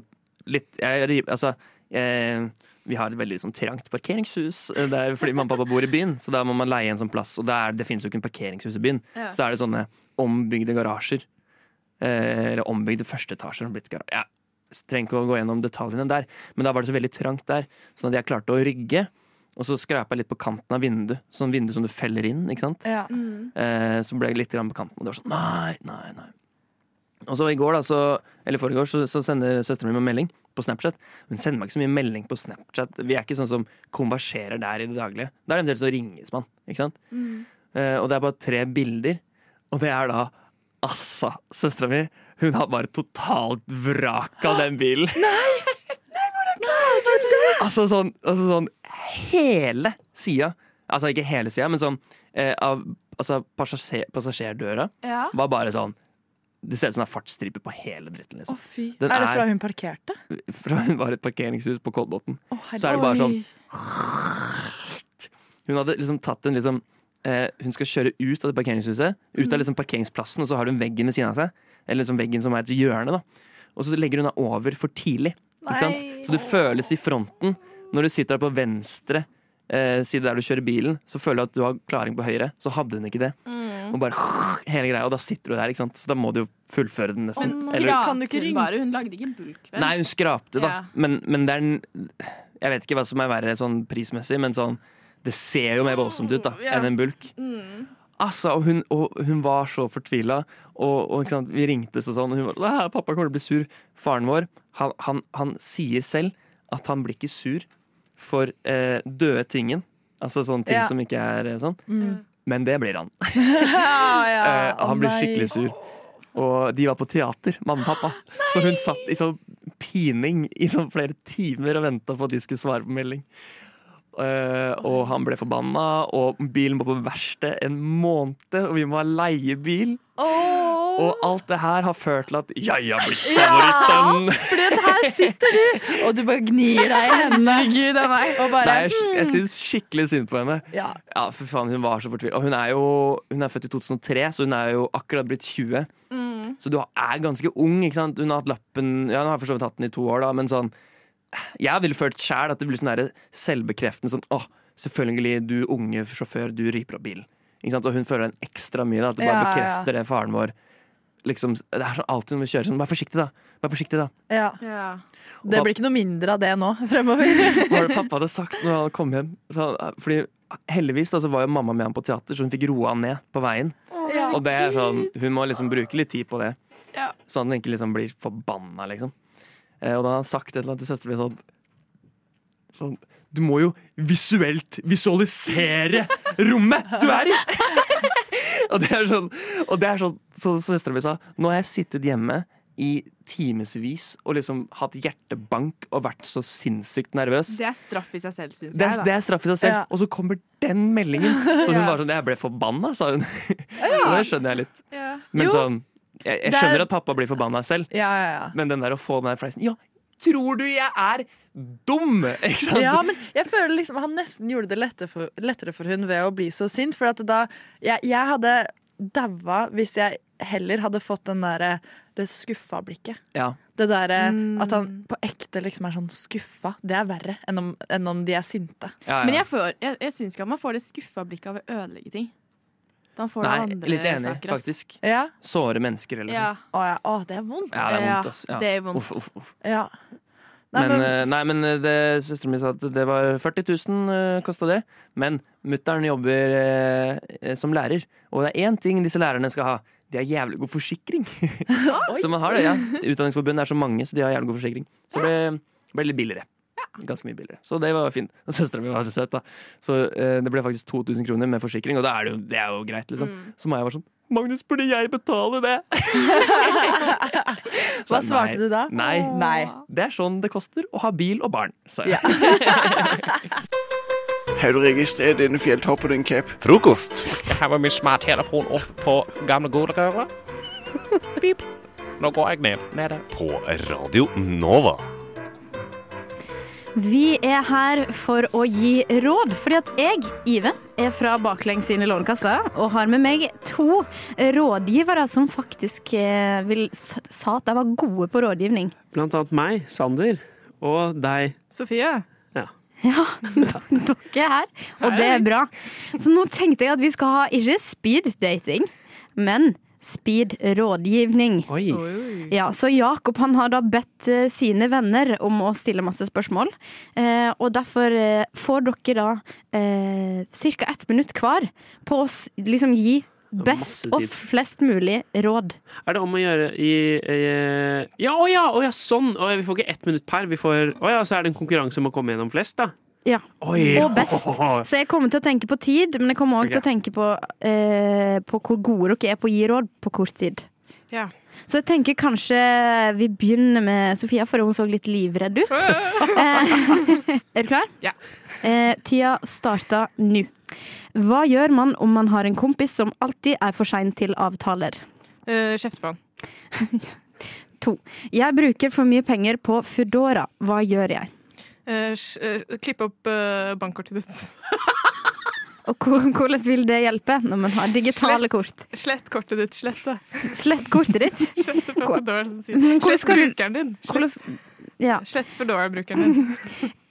litt jeg, ri- Altså eh, vi har et veldig sånn, trangt parkeringshus eh, der, fordi mamma og pappa bor i byen. Så da må man leie en sånn plass. Og der, det finnes jo ikke en parkeringshus i byen.
Ja.
Så er det sånne ombygde garasjer. Eh, eller ombygde førsteetasjer. som har blitt gara- Ja, så trenger ikke å gå gjennom detaljene der. Men da var det så veldig trangt der, sånn at jeg klarte å rygge. Og så skrapa jeg litt på kanten av vinduet, sånn vindu som du feller inn. ikke sant?
Ja.
Mm.
Eh, så ble jeg litt grann på kanten, og det var sånn nei, nei, nei. Og så i går, da, så, eller forrige år, så, så sender søsteren min meg en melding på Snapchat. Hun sender meg ikke så mye melding på Snapchat. Vi er ikke sånn som konverserer der i det daglige. Da er det en del som ringes man, ikke sant?
Mm.
Eh, og det er bare tre bilder, og det er da Assa, søstera mi. Hun har bare totalt vrak av den bilen. Altså sånn, altså sånn hele sida Altså ikke hele sida, men sånn eh, av, altså passasjer, passasjerdøra
Ja.
var bare sånn Det ser ut som det er fartsstripe på hele dritten. Liksom. Den
er det fra hun parkerte?
fra hun var et parkeringshus på Kolbotn.
herregud.
så er det bare sånn
Oi.
Hun hadde liksom tatt en liksom eh, Hun skal kjøre ut av det parkeringshuset, ut
Mm.
av liksom parkeringsplassen, og så har hun veggen ved siden av seg. Eller liksom veggen som er et hjørne, da. Og så legger hun deg over for tidlig. Ikke sant?
Nei.
Så det føles i fronten. Når du sitter der på venstre eh, side der du kjører bilen, så føler du at du har klaring på høyre. Så hadde hun ikke det.
Mm.
Og bare hele greia, og da sitter du der, ikke sant. Så da må du jo fullføre den nesten.
Men
Eller-
kan du ikke ringe? Bare. Hun lagde ikke bulk, vel?
Nei, hun skrapte, da.
Ja.
Men, men det er en Jeg vet ikke hva som er verre sånn prismessig, men sånn Det ser jo mer voldsomt ut da
Oh, Ja.
enn en bulk.
Mm.
Altså, og hun, og hun var så fortvila, og, og ikke sant? vi ringtes og sånn, og hun var sånn «Æ, 'Pappa kommer til å bli sur'. Faren vår, han, han, han sier selv at han blir ikke sur for eh, døde tingen. Altså sånne ting
Ja.
som ikke er eh, sånn.
Mm.
Men det blir han.
ja,
Eh,
ja.
og han blir
Nei.
skikkelig sur. Og de var på teater, mamma og pappa. Så hun satt i sånn pining i sånn flere timer og venta på at de skulle svare på melding. Eh, og han ble forbanna, og bilen må på verksted en måned, og vi må ha leiebil. Og alt det her har ført til at jeg har blitt favoritten.
Fordi at her sitter du, og du bare gnir deg i hendene.
Herregud, det er meg.
Og bare hmm.
Nei, jeg jeg syns skikkelig synd på henne.
Ja.
for faen, Hun var så fortvilt. Og hun er jo hun er født i 2003, så hun er jo akkurat blitt 20.
Mm.
Så du er ganske ung, ikke sant? Hun har hatt lappen Ja, hun har for så vidt hatt den i to år, da, men sånn Jeg ville følt sjæl at det blir sånn der selvbekreftende sånn Å, selvfølgelig, du unge sjåfør, du riper opp bilen. Ikke sant? Og hun føler den ekstra mye, da. At det bare
Ja, ja, ja.
bekrefter det faren vår Liksom, Det er sånn alltid når vi kjører sånn Vær forsiktig, da. Vær forsiktig, da.
Ja. Det blir ikke noe mindre av det nå fremover.
Hva var det pappa hadde sagt når han kom hjem? For han- Fordi Heldigvis da, så var jo mamma med ham på teater, så hun fikk roa han ned på veien.
Ja.
Og det er sånn, hun må liksom bruke litt tid på det,
Ja.
så han ikke liksom blir forbanna, liksom. Eh, Og da har han sagt et eller annet til søsteren min sånn Sånn Du må jo visuelt visualisere rommet du er i! og det er sånn, og det er sånn så, som søstera mi sa, nå har jeg sittet hjemme i timevis og liksom hatt hjertebank og vært så sinnssykt nervøs.
Det er straff i seg selv, syns jeg.
Det er,
da.
det er straff i seg selv. Og så kommer den meldingen! Så hun
Ja.
var sånn Jeg ble forbanna, sa hun. Og det skjønner jeg litt.
Ja.
Men
Jo.
sånn Jeg, jeg
Det er-
skjønner at pappa blir forbanna selv,
Ja, ja, ja.
men den der å få den der fleisen Ja, tror du jeg er dum?! Ikke sant?
Ja, men jeg føler liksom han nesten gjorde det lette for, lettere for hun ved å bli så sint. For at da Jeg, jeg hadde daua hvis jeg heller hadde fått den derre det skuffa blikket.
Ja.
Det derre at han
Mm.
på ekte liksom er sånn skuffa. Det er verre enn om, enn om de er sinte.
Ja, ja.
Men jeg, får- jeg, jeg syns ikke at man får det skuffa blikket av å ødelegge ting. Da får du
Nei,
andre
litt enig,
saker, ass.
faktisk.
Ja.
Såre mennesker, eller
Ja.
sånn.
Å, ja. Å, det er vondt.
Ja, det er vondt, ass. Ja.
det er vondt.
Uff, uff, uff.
Ja. Nei,
Men,
men-
eh, nei, men eh, det søsteren min sa at det var 40 000 uh, kosta det. Men mutter'n jobber eh, eh, som lærer, og det er én ting disse lærerne skal ha. De har jævlig god forsikring. så man har det, ja. Utdanningsforbundet er så mange, så de har jævlig god forsikring. Så det ble, ble litt billigere. Ganske mye billigere. Så det var fint. Og søstera mi var så søt, da. Så eh, det ble faktisk 2000 kroner med forsikring, og da er det jo, det er jo greit, liksom.
Mm.
Så Maja var sånn Magnus, burde jeg betale det?
Hva
Så
svarte
nei,
du da?
Nei.
Nei.
Det er sånn det koster å ha bil og barn, sa jeg.
Har du registrert denne fjelltoppen din, Cap?
Frokost. Jeg har med min smarttelefon opp på gamle godegøra. Pip. Nå går jeg ned. Nede.
På Radio Nova.
Vi er her for å gi råd, fordi at jeg, Ive, er fra baklengs inn i Lånekassa og har med meg to rådgivere som faktisk eh, vil, s- sa at de var gode på rådgivning.
Blant annet meg, Sander, og deg.
Sofie?
Ja.
Ja, dere er her, og det er bra. Så nå tenkte jeg at vi skal ha ikke speed-dating, men speed-rådgivning. Ja, så Jakob han har da bedt eh, sine venner om å stille masse spørsmål. Eh, og derfor eh, får dere da eh, ca. ett minutt hver på å s- liksom gi best
Masse
og
tid.
flest mulig råd.
Er det om å gjøre i, eh, Ja, å ja, å ja, sånn! Å ja, vi får ikke ett minutt per. Vi får, å ja, så er det en konkurranse om å komme gjennom flest, da.
Ja.
Oi.
Og best. Så jeg kommer til å tenke på tid, men jeg kommer òg til å
Ok.
tenke på, eh, på hvor gode dere er på å gi råd på kort tid. Så jeg tenker kanskje vi begynner med Sofia, for hun så litt livredd ut. Eh, er du klar?
Ja.
Eh, tida starta nå. Hva gjør man om man har en kompis som alltid er for sein til avtaler?
Eh, Kjefte på han.
To. Jeg bruker for mye penger på Foodora. Hå Hva gjør jeg?
Eh, sj- eh, klippe opp eh, bankkortet ditt.
Og hvor- hvordan vil det hjelpe når man har digitale kort?
Slett kortet ditt. Slett det.
Slett kortet ditt.
Slett det fra Foodora sin side.
Men hvordan
Slett
skal du-
brukeren din. Slett,
Ja.
slett Foodora-brukeren din.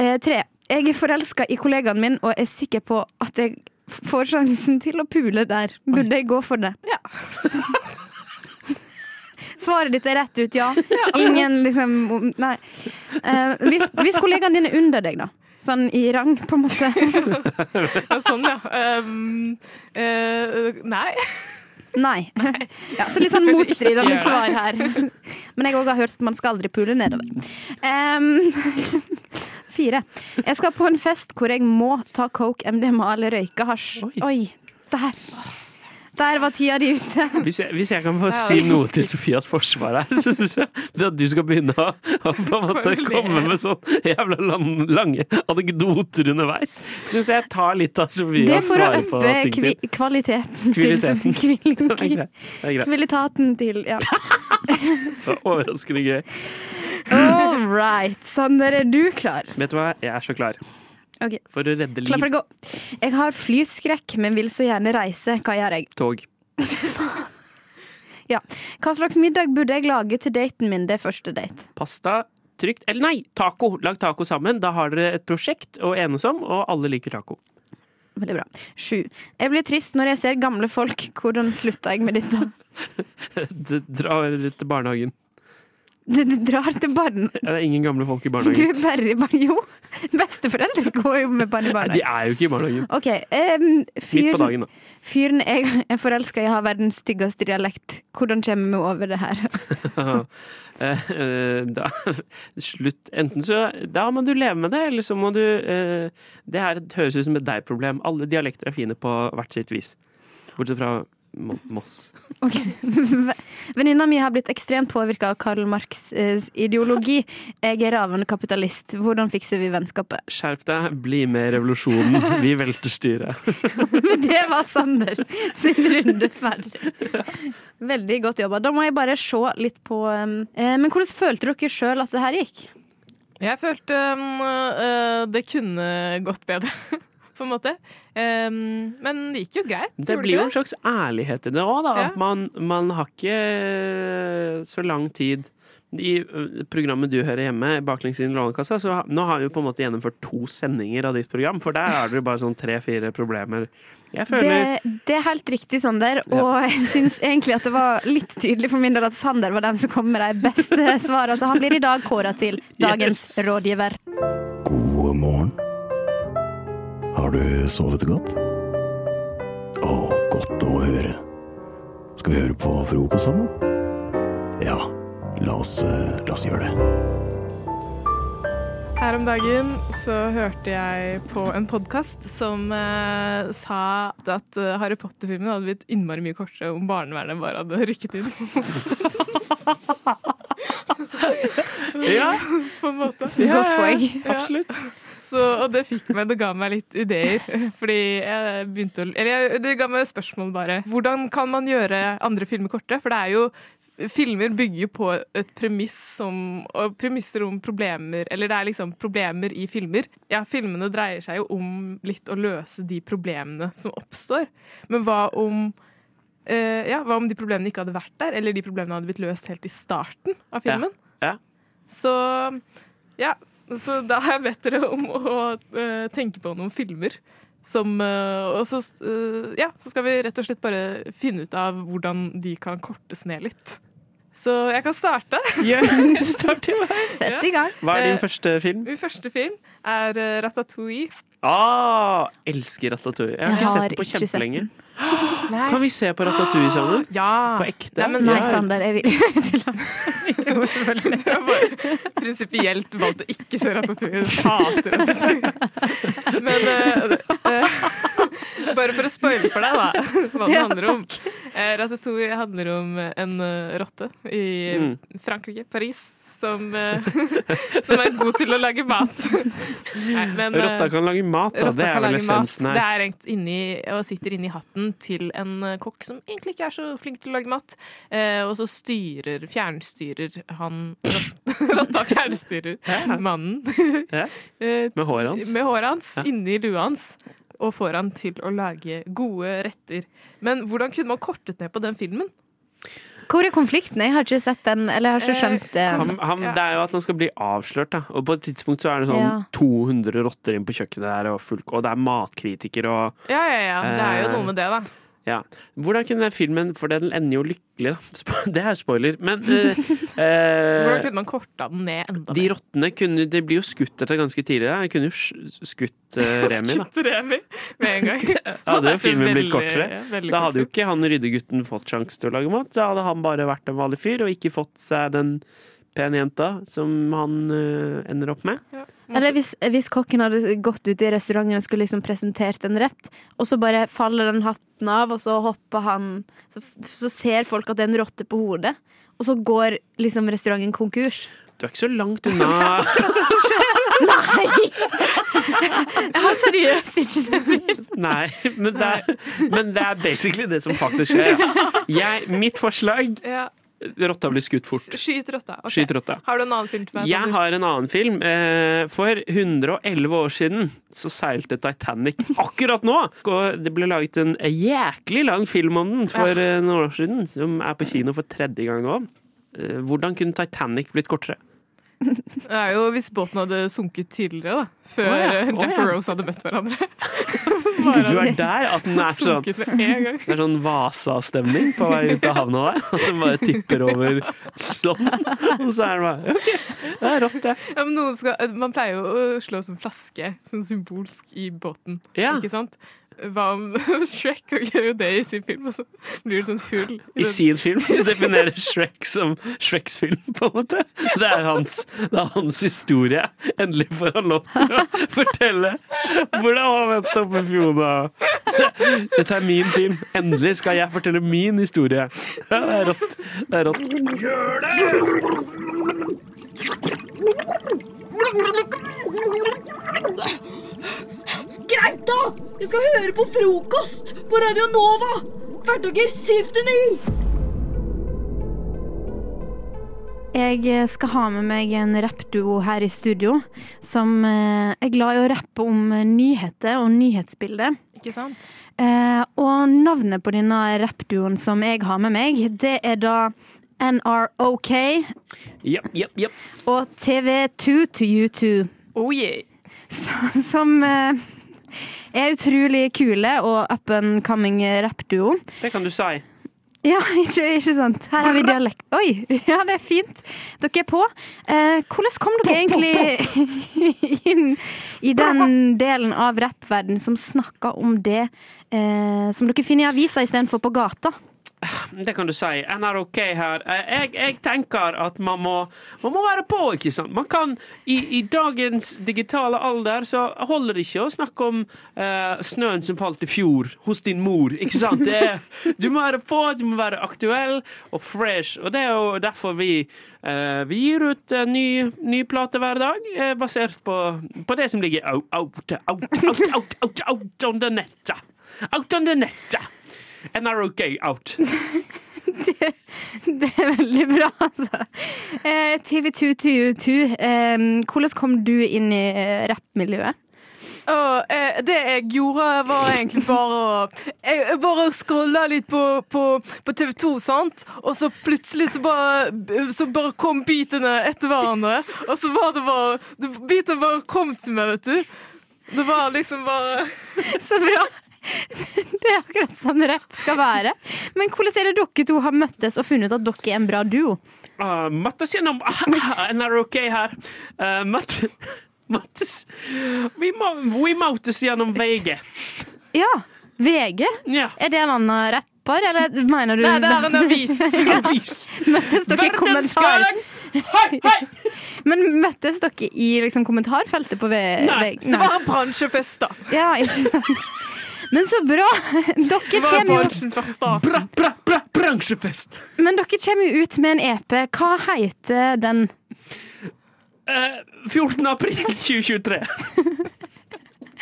Eh, tre. Jeg er forelska i kollegaen min og er sikker på at jeg f- får sjansen til å pule der. Burde jeg gå for det? Svaret ditt er rett ut, ja. Ingen liksom om- Nei. Eh, hvis, hvis kollegaen din er under deg, da. Sånn i rang, på en måte.
Ja, sånn, ja. Um, eh, nei.
Nei. Ja, så litt sånn
Kanskje
motstridende
ikke.
svar her. Men jeg òg har hørt at man skal aldri pule nedover. Em, fire. Jeg skal på en fest hvor jeg må ta coke, MDMA eller røyke hasj. Oi. Der. Der var tida di ute.
Hvis jeg, hvis jeg kan få
Ja,
si
det-
noe til Sofias forsvar her, så syns jeg det at du skal begynne å, å på en måte
Formulere.
komme med sånn jævla lan- lange anekdoter underveis, syns jeg tar litt av
Det er
Sofias
for å
svar på
øppe
ting
kvi
til.
kvaliteten til
Kvaliteten.
som- kvil-
Det er greit. Det er greit.
Kvalitaten til Ja.
Det var Overraskende gøy.
All right. Sander, er du klar?
Vet du hva, jeg er så klar.
Ok.
For å redde
Klar for å
liv.
gå. Jeg har flyskrekk, men vil så gjerne reise. Hva gjør jeg?
Tog.
Ja. Hva slags middag burde jeg lage til daten min? Det er første date.
Pasta. Trygt. Eller nei, taco! Lag taco sammen. Da har dere et prosjekt å enes om, og alle liker taco.
Veldig bra. Sju. Jeg blir trist når jeg ser gamle folk. Hvordan slutta jeg med dette?
D- Dra til barnehagen.
Du, du drar til barn...
Ja, Det er ingen gamle folk i
Du er
barnehagen.
bare i barn... Jo! Besteforeldre går jo med barn i
Nei, de
barnehagen.
er jo ikke i barnehagen.
OK. em,
Midt på
fyren-
dagen, da.
Fyren jeg er forelska i, har verdens styggeste dialekt. Hvordan kommer vi over det her?
Eh, eh, da, slutt. Enten så Da må du leve med det, eller så må du eh, Det her høres ut som et deg-problem. Alle dialekter er fine på hvert sitt vis. Bortsett fra Mo- Moss.
Venninna mi har blitt ekstremt påvirka av Karl Marx' eh, ideologi. Jeg er ravende kapitalist. Hvordan fikser vi vennskapet?
Skjerp deg, bli med i revolusjonen. Vi velter styret.
Men det var Sander sin runde ferdig. Veldig godt jobba. Da må jeg bare se litt på um, eh, Men hvordan følte dere sjøl at det her gikk?
Jeg følte um, eh, det kunne gått bedre, på en måte. Um, men det gikk jo greit.
Det
gjorde
blir jo
ikke
en slags ærlighet i det òg, da. At man, man har ikke så lang tid i ø, programmet du hører hjemme, Baklengs inn i Lånekassa, så ha- nå har vi jo på en måte gjennomført to sendinger av ditt program, for der er det jo bare sånn tre-fire problemer. Jeg føler
Det, det er helt riktig, Sander. Og jeg syns egentlig at det var litt tydelig for min del at Sander var den som kom med de beste svarene. Så han blir i dag kåra til dagens
Yes.
rådgiver.
God morgen. Har du sovet godt? Å, godt å høre. Skal vi høre på frokost sammen? Ja, la oss, eh, la oss gjøre det.
det. Her om dagen så hørte jeg på en podkast som eh, sa at eh, Harry Potter-filmen hadde blitt innmari mye kortere om barnevernet bare hadde rykket inn.
Ja.
på en måte.
Godt poeng.
Absolutt. Så, og det fikk meg, det ga meg litt ideer. Fordi jeg begynte å Eller jeg, det ga meg spørsmål, bare. Hvordan kan man gjøre andre filmer korte? For det er jo Filmer bygger jo på et premiss som og premisser om problemer Eller det er liksom problemer i filmer. Ja, filmene dreier seg jo om litt å løse de problemene som oppstår. Men hva om eh, Ja, hva om de problemene ikke hadde vært der? Eller de problemene hadde blitt løst helt i starten av filmen?
Ja.
Så ja, Så da har jeg bedt dere om å eh, tenke på noen filmer. Som, eh, og så, eh, ja, så skal vi rett og slett bare finne ut av hvordan de kan kortes ned litt. Så jeg kan starte. Start i meg.
Sett i gang.
Hva er din
Eh,
første film?
Min første film er eh, Ratatouille.
Ah, elsker Ratatouille. Jeg har
Jeg
ikke
har
sett på
ikke sett
kjempelenge.
den.
Kan vi se på Ratatouille sammen?
Ja.
På ekte?
Nei, men
Ja.
nei, Sander,
jeg vil
Jo, selvfølgelig. Du har bare prinsipielt valgt å ikke se Ratatouille. Du hater det. Men eh, eh, bare for å spoile for deg, da, hva den
Ja,
handler om. Eh, Ratatouille handler om en eh, rotte i
Mm.
Frankrike, Paris, som, eh, som er god til å lage mat. Nei, men, eh,
Rotta kan lage mat, da.
Rotta
Det er
kan
vel
lage
essensen
mat.
her.
Det er egentlig inni, og sitter inni hatten til en eh, kokk som egentlig ikke er så flink til å lage mat. Eh, og så styrer, fjernstyrer han rot- Rotta fjernstyrer mannen eh,
Med håret hans.
med håret hans
Ja.
inni lua hans. Og får han til å lage gode retter. Men hvordan kunne man kortet ned på den filmen?
Hvor er konflikten? Jeg har ikke sett den, eller jeg har ikke skjønt det.
Eh, Han, han, det er jo at han skal bli avslørt, da. Og på et tidspunkt så er det sånn
Ja.
200 rotter inn på kjøkkenet der, og, full, og det er matkritiker og
Ja, ja, ja. Det er jo
Eh,
noe med det, da.
ja. Hvordan kunne filmen For den ender jo lykkelig, da. Spo- Det er spoiler. Men eh, eh,
Hvordan kunne man korta den ned enda
de rottene kunne, de blir jo skutt etter ganske tidlig. da. De kunne jo sk- skutt eh, Remi, da.
Skutt Remi med en gang.
Hadde jo filmen blitt
Veldig-
kortere.
veldig
Da hadde jo ikke han ryddegutten fått sjanse til å lage mat. Da hadde han bare vært en vanlig fyr og ikke fått seg den pene jenta som han eh, ender opp med.
Eller hvis, hvis kokken hadde gått ut i restauranten og skulle liksom presentert en rett, og så bare faller den hatten av, og så hopper han Så, så ser folk at det er en rotte på hodet, og så går liksom restauranten konkurs.
Du er ikke så langt unna.
Nei! Jeg har seriøst ikke sett film.
Nei, men det, er, men det er basically det som faktisk skjer. Ja. Jeg, mitt forslag
Ja.
Rotta blir skutt fort.
Skyt rotta. ok.
Skyt rotta.
Har du en annen film til meg?
Jeg
Sander?
har en annen film. Eh, For 111 år siden så seilte Titanic akkurat nå! Og det ble laget en jæklig lang film om den for eh, noen år siden, som er på kino for tredje gang nå. Eh, Hvordan kunne Titanic blitt kortere?
Det er jo hvis båten hadde sunket tidligere, da. Før
Å ja,
eh, Jack
å ja.
og Rose hadde møtt hverandre.
Du er der at den er sånn
Sunket med en gang.
Det er sånn Vasa-stemning på vei ut av havna der. At den bare tipper over sånn. Og så er den bare OK, det er rått, det.
Ja, men noen skal, eh, man pleier jo å slå som flaske, sånn symbolsk, i båten. Ikke sant? Hva om Shrek og gjør jo det i sin film, og så blir det sånn hull.
I sin film så definerer Shrek som Shreks film, på en måte. Det er hans, det er hans historie. Endelig får han lov til å fortelle hvordan han endte opp med Fiona. Dette er min film. Endelig skal jeg fortelle min historie. Ja, det er rått. Det er rått.
Gjør det!
Greit, da! Jeg skal høre på frokost på Radio Nova! Hverdager 7 til 9!
Jeg skal ha med meg en rappduo her i studio som eh, er glad i å rappe om eh, nyheter og nyhetsbildet.
Ikke sant?
Eh, og navnet på denne rappduoen som jeg har med meg, det er da NROK
Jepp, jepp, jepp.
og TV2 to U2.
Oh yeah!
som eh, er utrolig kule og up and coming rappduo.
Det kan du si.
Ja, ikke, ikke sant. Her har vi dialekt. Oi, ja, det er fint. Dere er på. Eh, hvordan kom dere egentlig inn i den delen av rappverden som snakker om det eh, som dere finner i avisa istedenfor på gata?
Det kan du si. NRK her. Eh, Jeg, jeg tenker at man må, man må være på, ikke sant. Man kan, i, I dagens digitale alder så holder det ikke å snakke om eh, snøen som falt i fjor hos din mor, ikke sant. Det, er- du må være på, du må være aktuell og fresh. Og det er jo derfor vi, eh, vi gir ut en ny, ny plate hver dag, eh, basert på, på det som ligger out, out, out, out, out, out, out on the net. Out on the net. NRK out.
Det er veldig bra, altså. Eh, TV2 to U2, eh, hvordan kom du inn i eh, rappmiljøet?
Å, eh, det jeg gjorde, var egentlig bare å Jeg, jeg bare scrolla litt på, på, på TV 2, sant, og så plutselig så bare, så bare kom bitene etter hverandre. Og så var det bare det- Bitene bare kom til meg, vet du. Det var liksom bare
Så bra. Det er akkurat sånn rapp skal være. Men hvordan er det dere to har møttes og funnet ut at dere er en bra duo?
Ah, møttes gjennom ah, NRK her. Eh, møtt- møttes vi, må- vi møttes gjennom VG.
Ja, VG. Er det en annen rapper, eller mener du
Nei, det er en avis.
Ja. Møttes dere i kommentar... Men møttes dere i liksom, kommentarfeltet på VG?
Nei, det var en bransjefest, da.
Ja, ikke sant. Men så bra! Dere
var
kommer jo
bransjefest, da.
Bra, bra, bra, bransjefest!
Men dere kommer jo ut med en EP. Hva heter den?
Eh, 14. april 2023.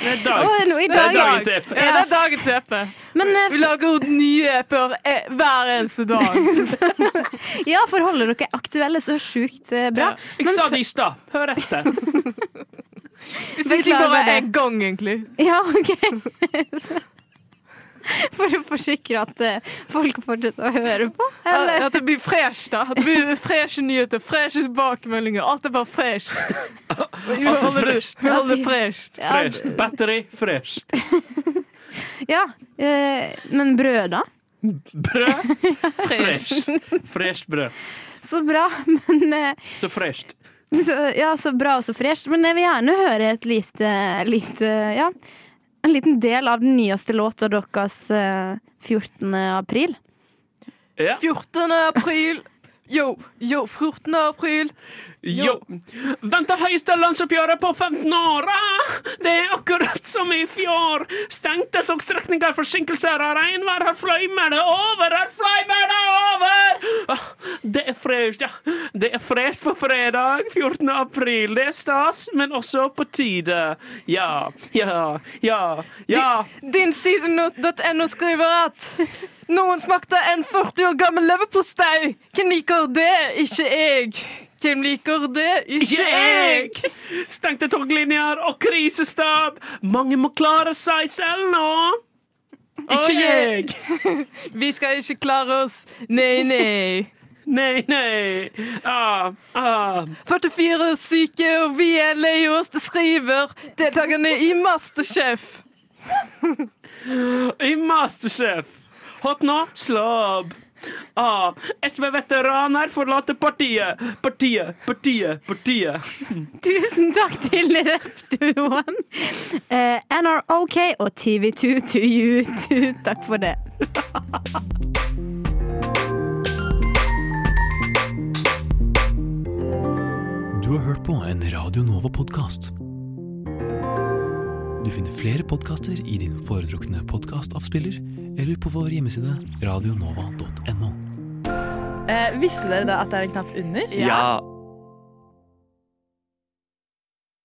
Det er
Å, nå i
dagens, det
dag, ja.
er dagens EP.
Ja, det er dagens EP.
eh,
Vi lager nye EP-er eh, hver eneste dag.
Ja, for holder dere aktuelle så sjukt eh, bra.
Jeg sa det i stad. Hør etter.
Vi sitter
Beklager
bare
det.
en gang, egentlig.
Ja, OK. For å forsikre at eh, folk fortsetter å høre på? Eller?
At det blir fresh, da. At det blir Freshe nyheter, freshe tilbakemeldinger. Alt er bare fresh. Vi holder det
Fresh.
vi holder det fresht.
Fresh. Battery fresh.
Ja, eh, men brød, da?
Brød fresh. Fresht brød.
Så bra, men eh,
Så fresht.
så, Ja, så bra og så fresht. Men jeg vil gjerne høre et lite, lite Ja, en liten del av den nyeste låta deres eh, 14. april.
14. april. Yo, yo, 14. april.
Jo. Venter høyeste lønnsoppgjøret på 15 år! Ah, det er akkurat som i fjor! Stengte togstrekninger, forsinkelser og regnvær. Her fløymer det over! Her fløymer det over! Ah, det er fresht, ja. Det er fresht på fredag 14. april. Det er stas, men også på tide. Ja, ja, ja, ja.
Din side.no skriver at noen smakte en 40 år gammel leverpostei. Hvem liker det? Ikke jeg. Hvem liker det? Ikke jeg.
Stengte toglinjer og krisestab. Mange må klare seg selv nå.
Ikke jeg. Vi skal ikke klare oss. Nei, nei.
Nei, nei. Ah, ah.
44 er syke, og vi er lei oss. Det skriver deltakerne i Masterchef.
I Masterchef. Hot nå, slob. Ah, SV-veteraner forlater partiet. Partiet, partiet, partiet.
Tusen takk til rappduoen. Eh, NROK og TV2 to you too. Takk for det.
Du har hørt på en Radio Nova-podkast. Du finner flere podkaster i din foretrukne podkastavspiller eller på vår hjemmeside radionova.no.
Eh, visste dere da at det er en knapp under?
Ja.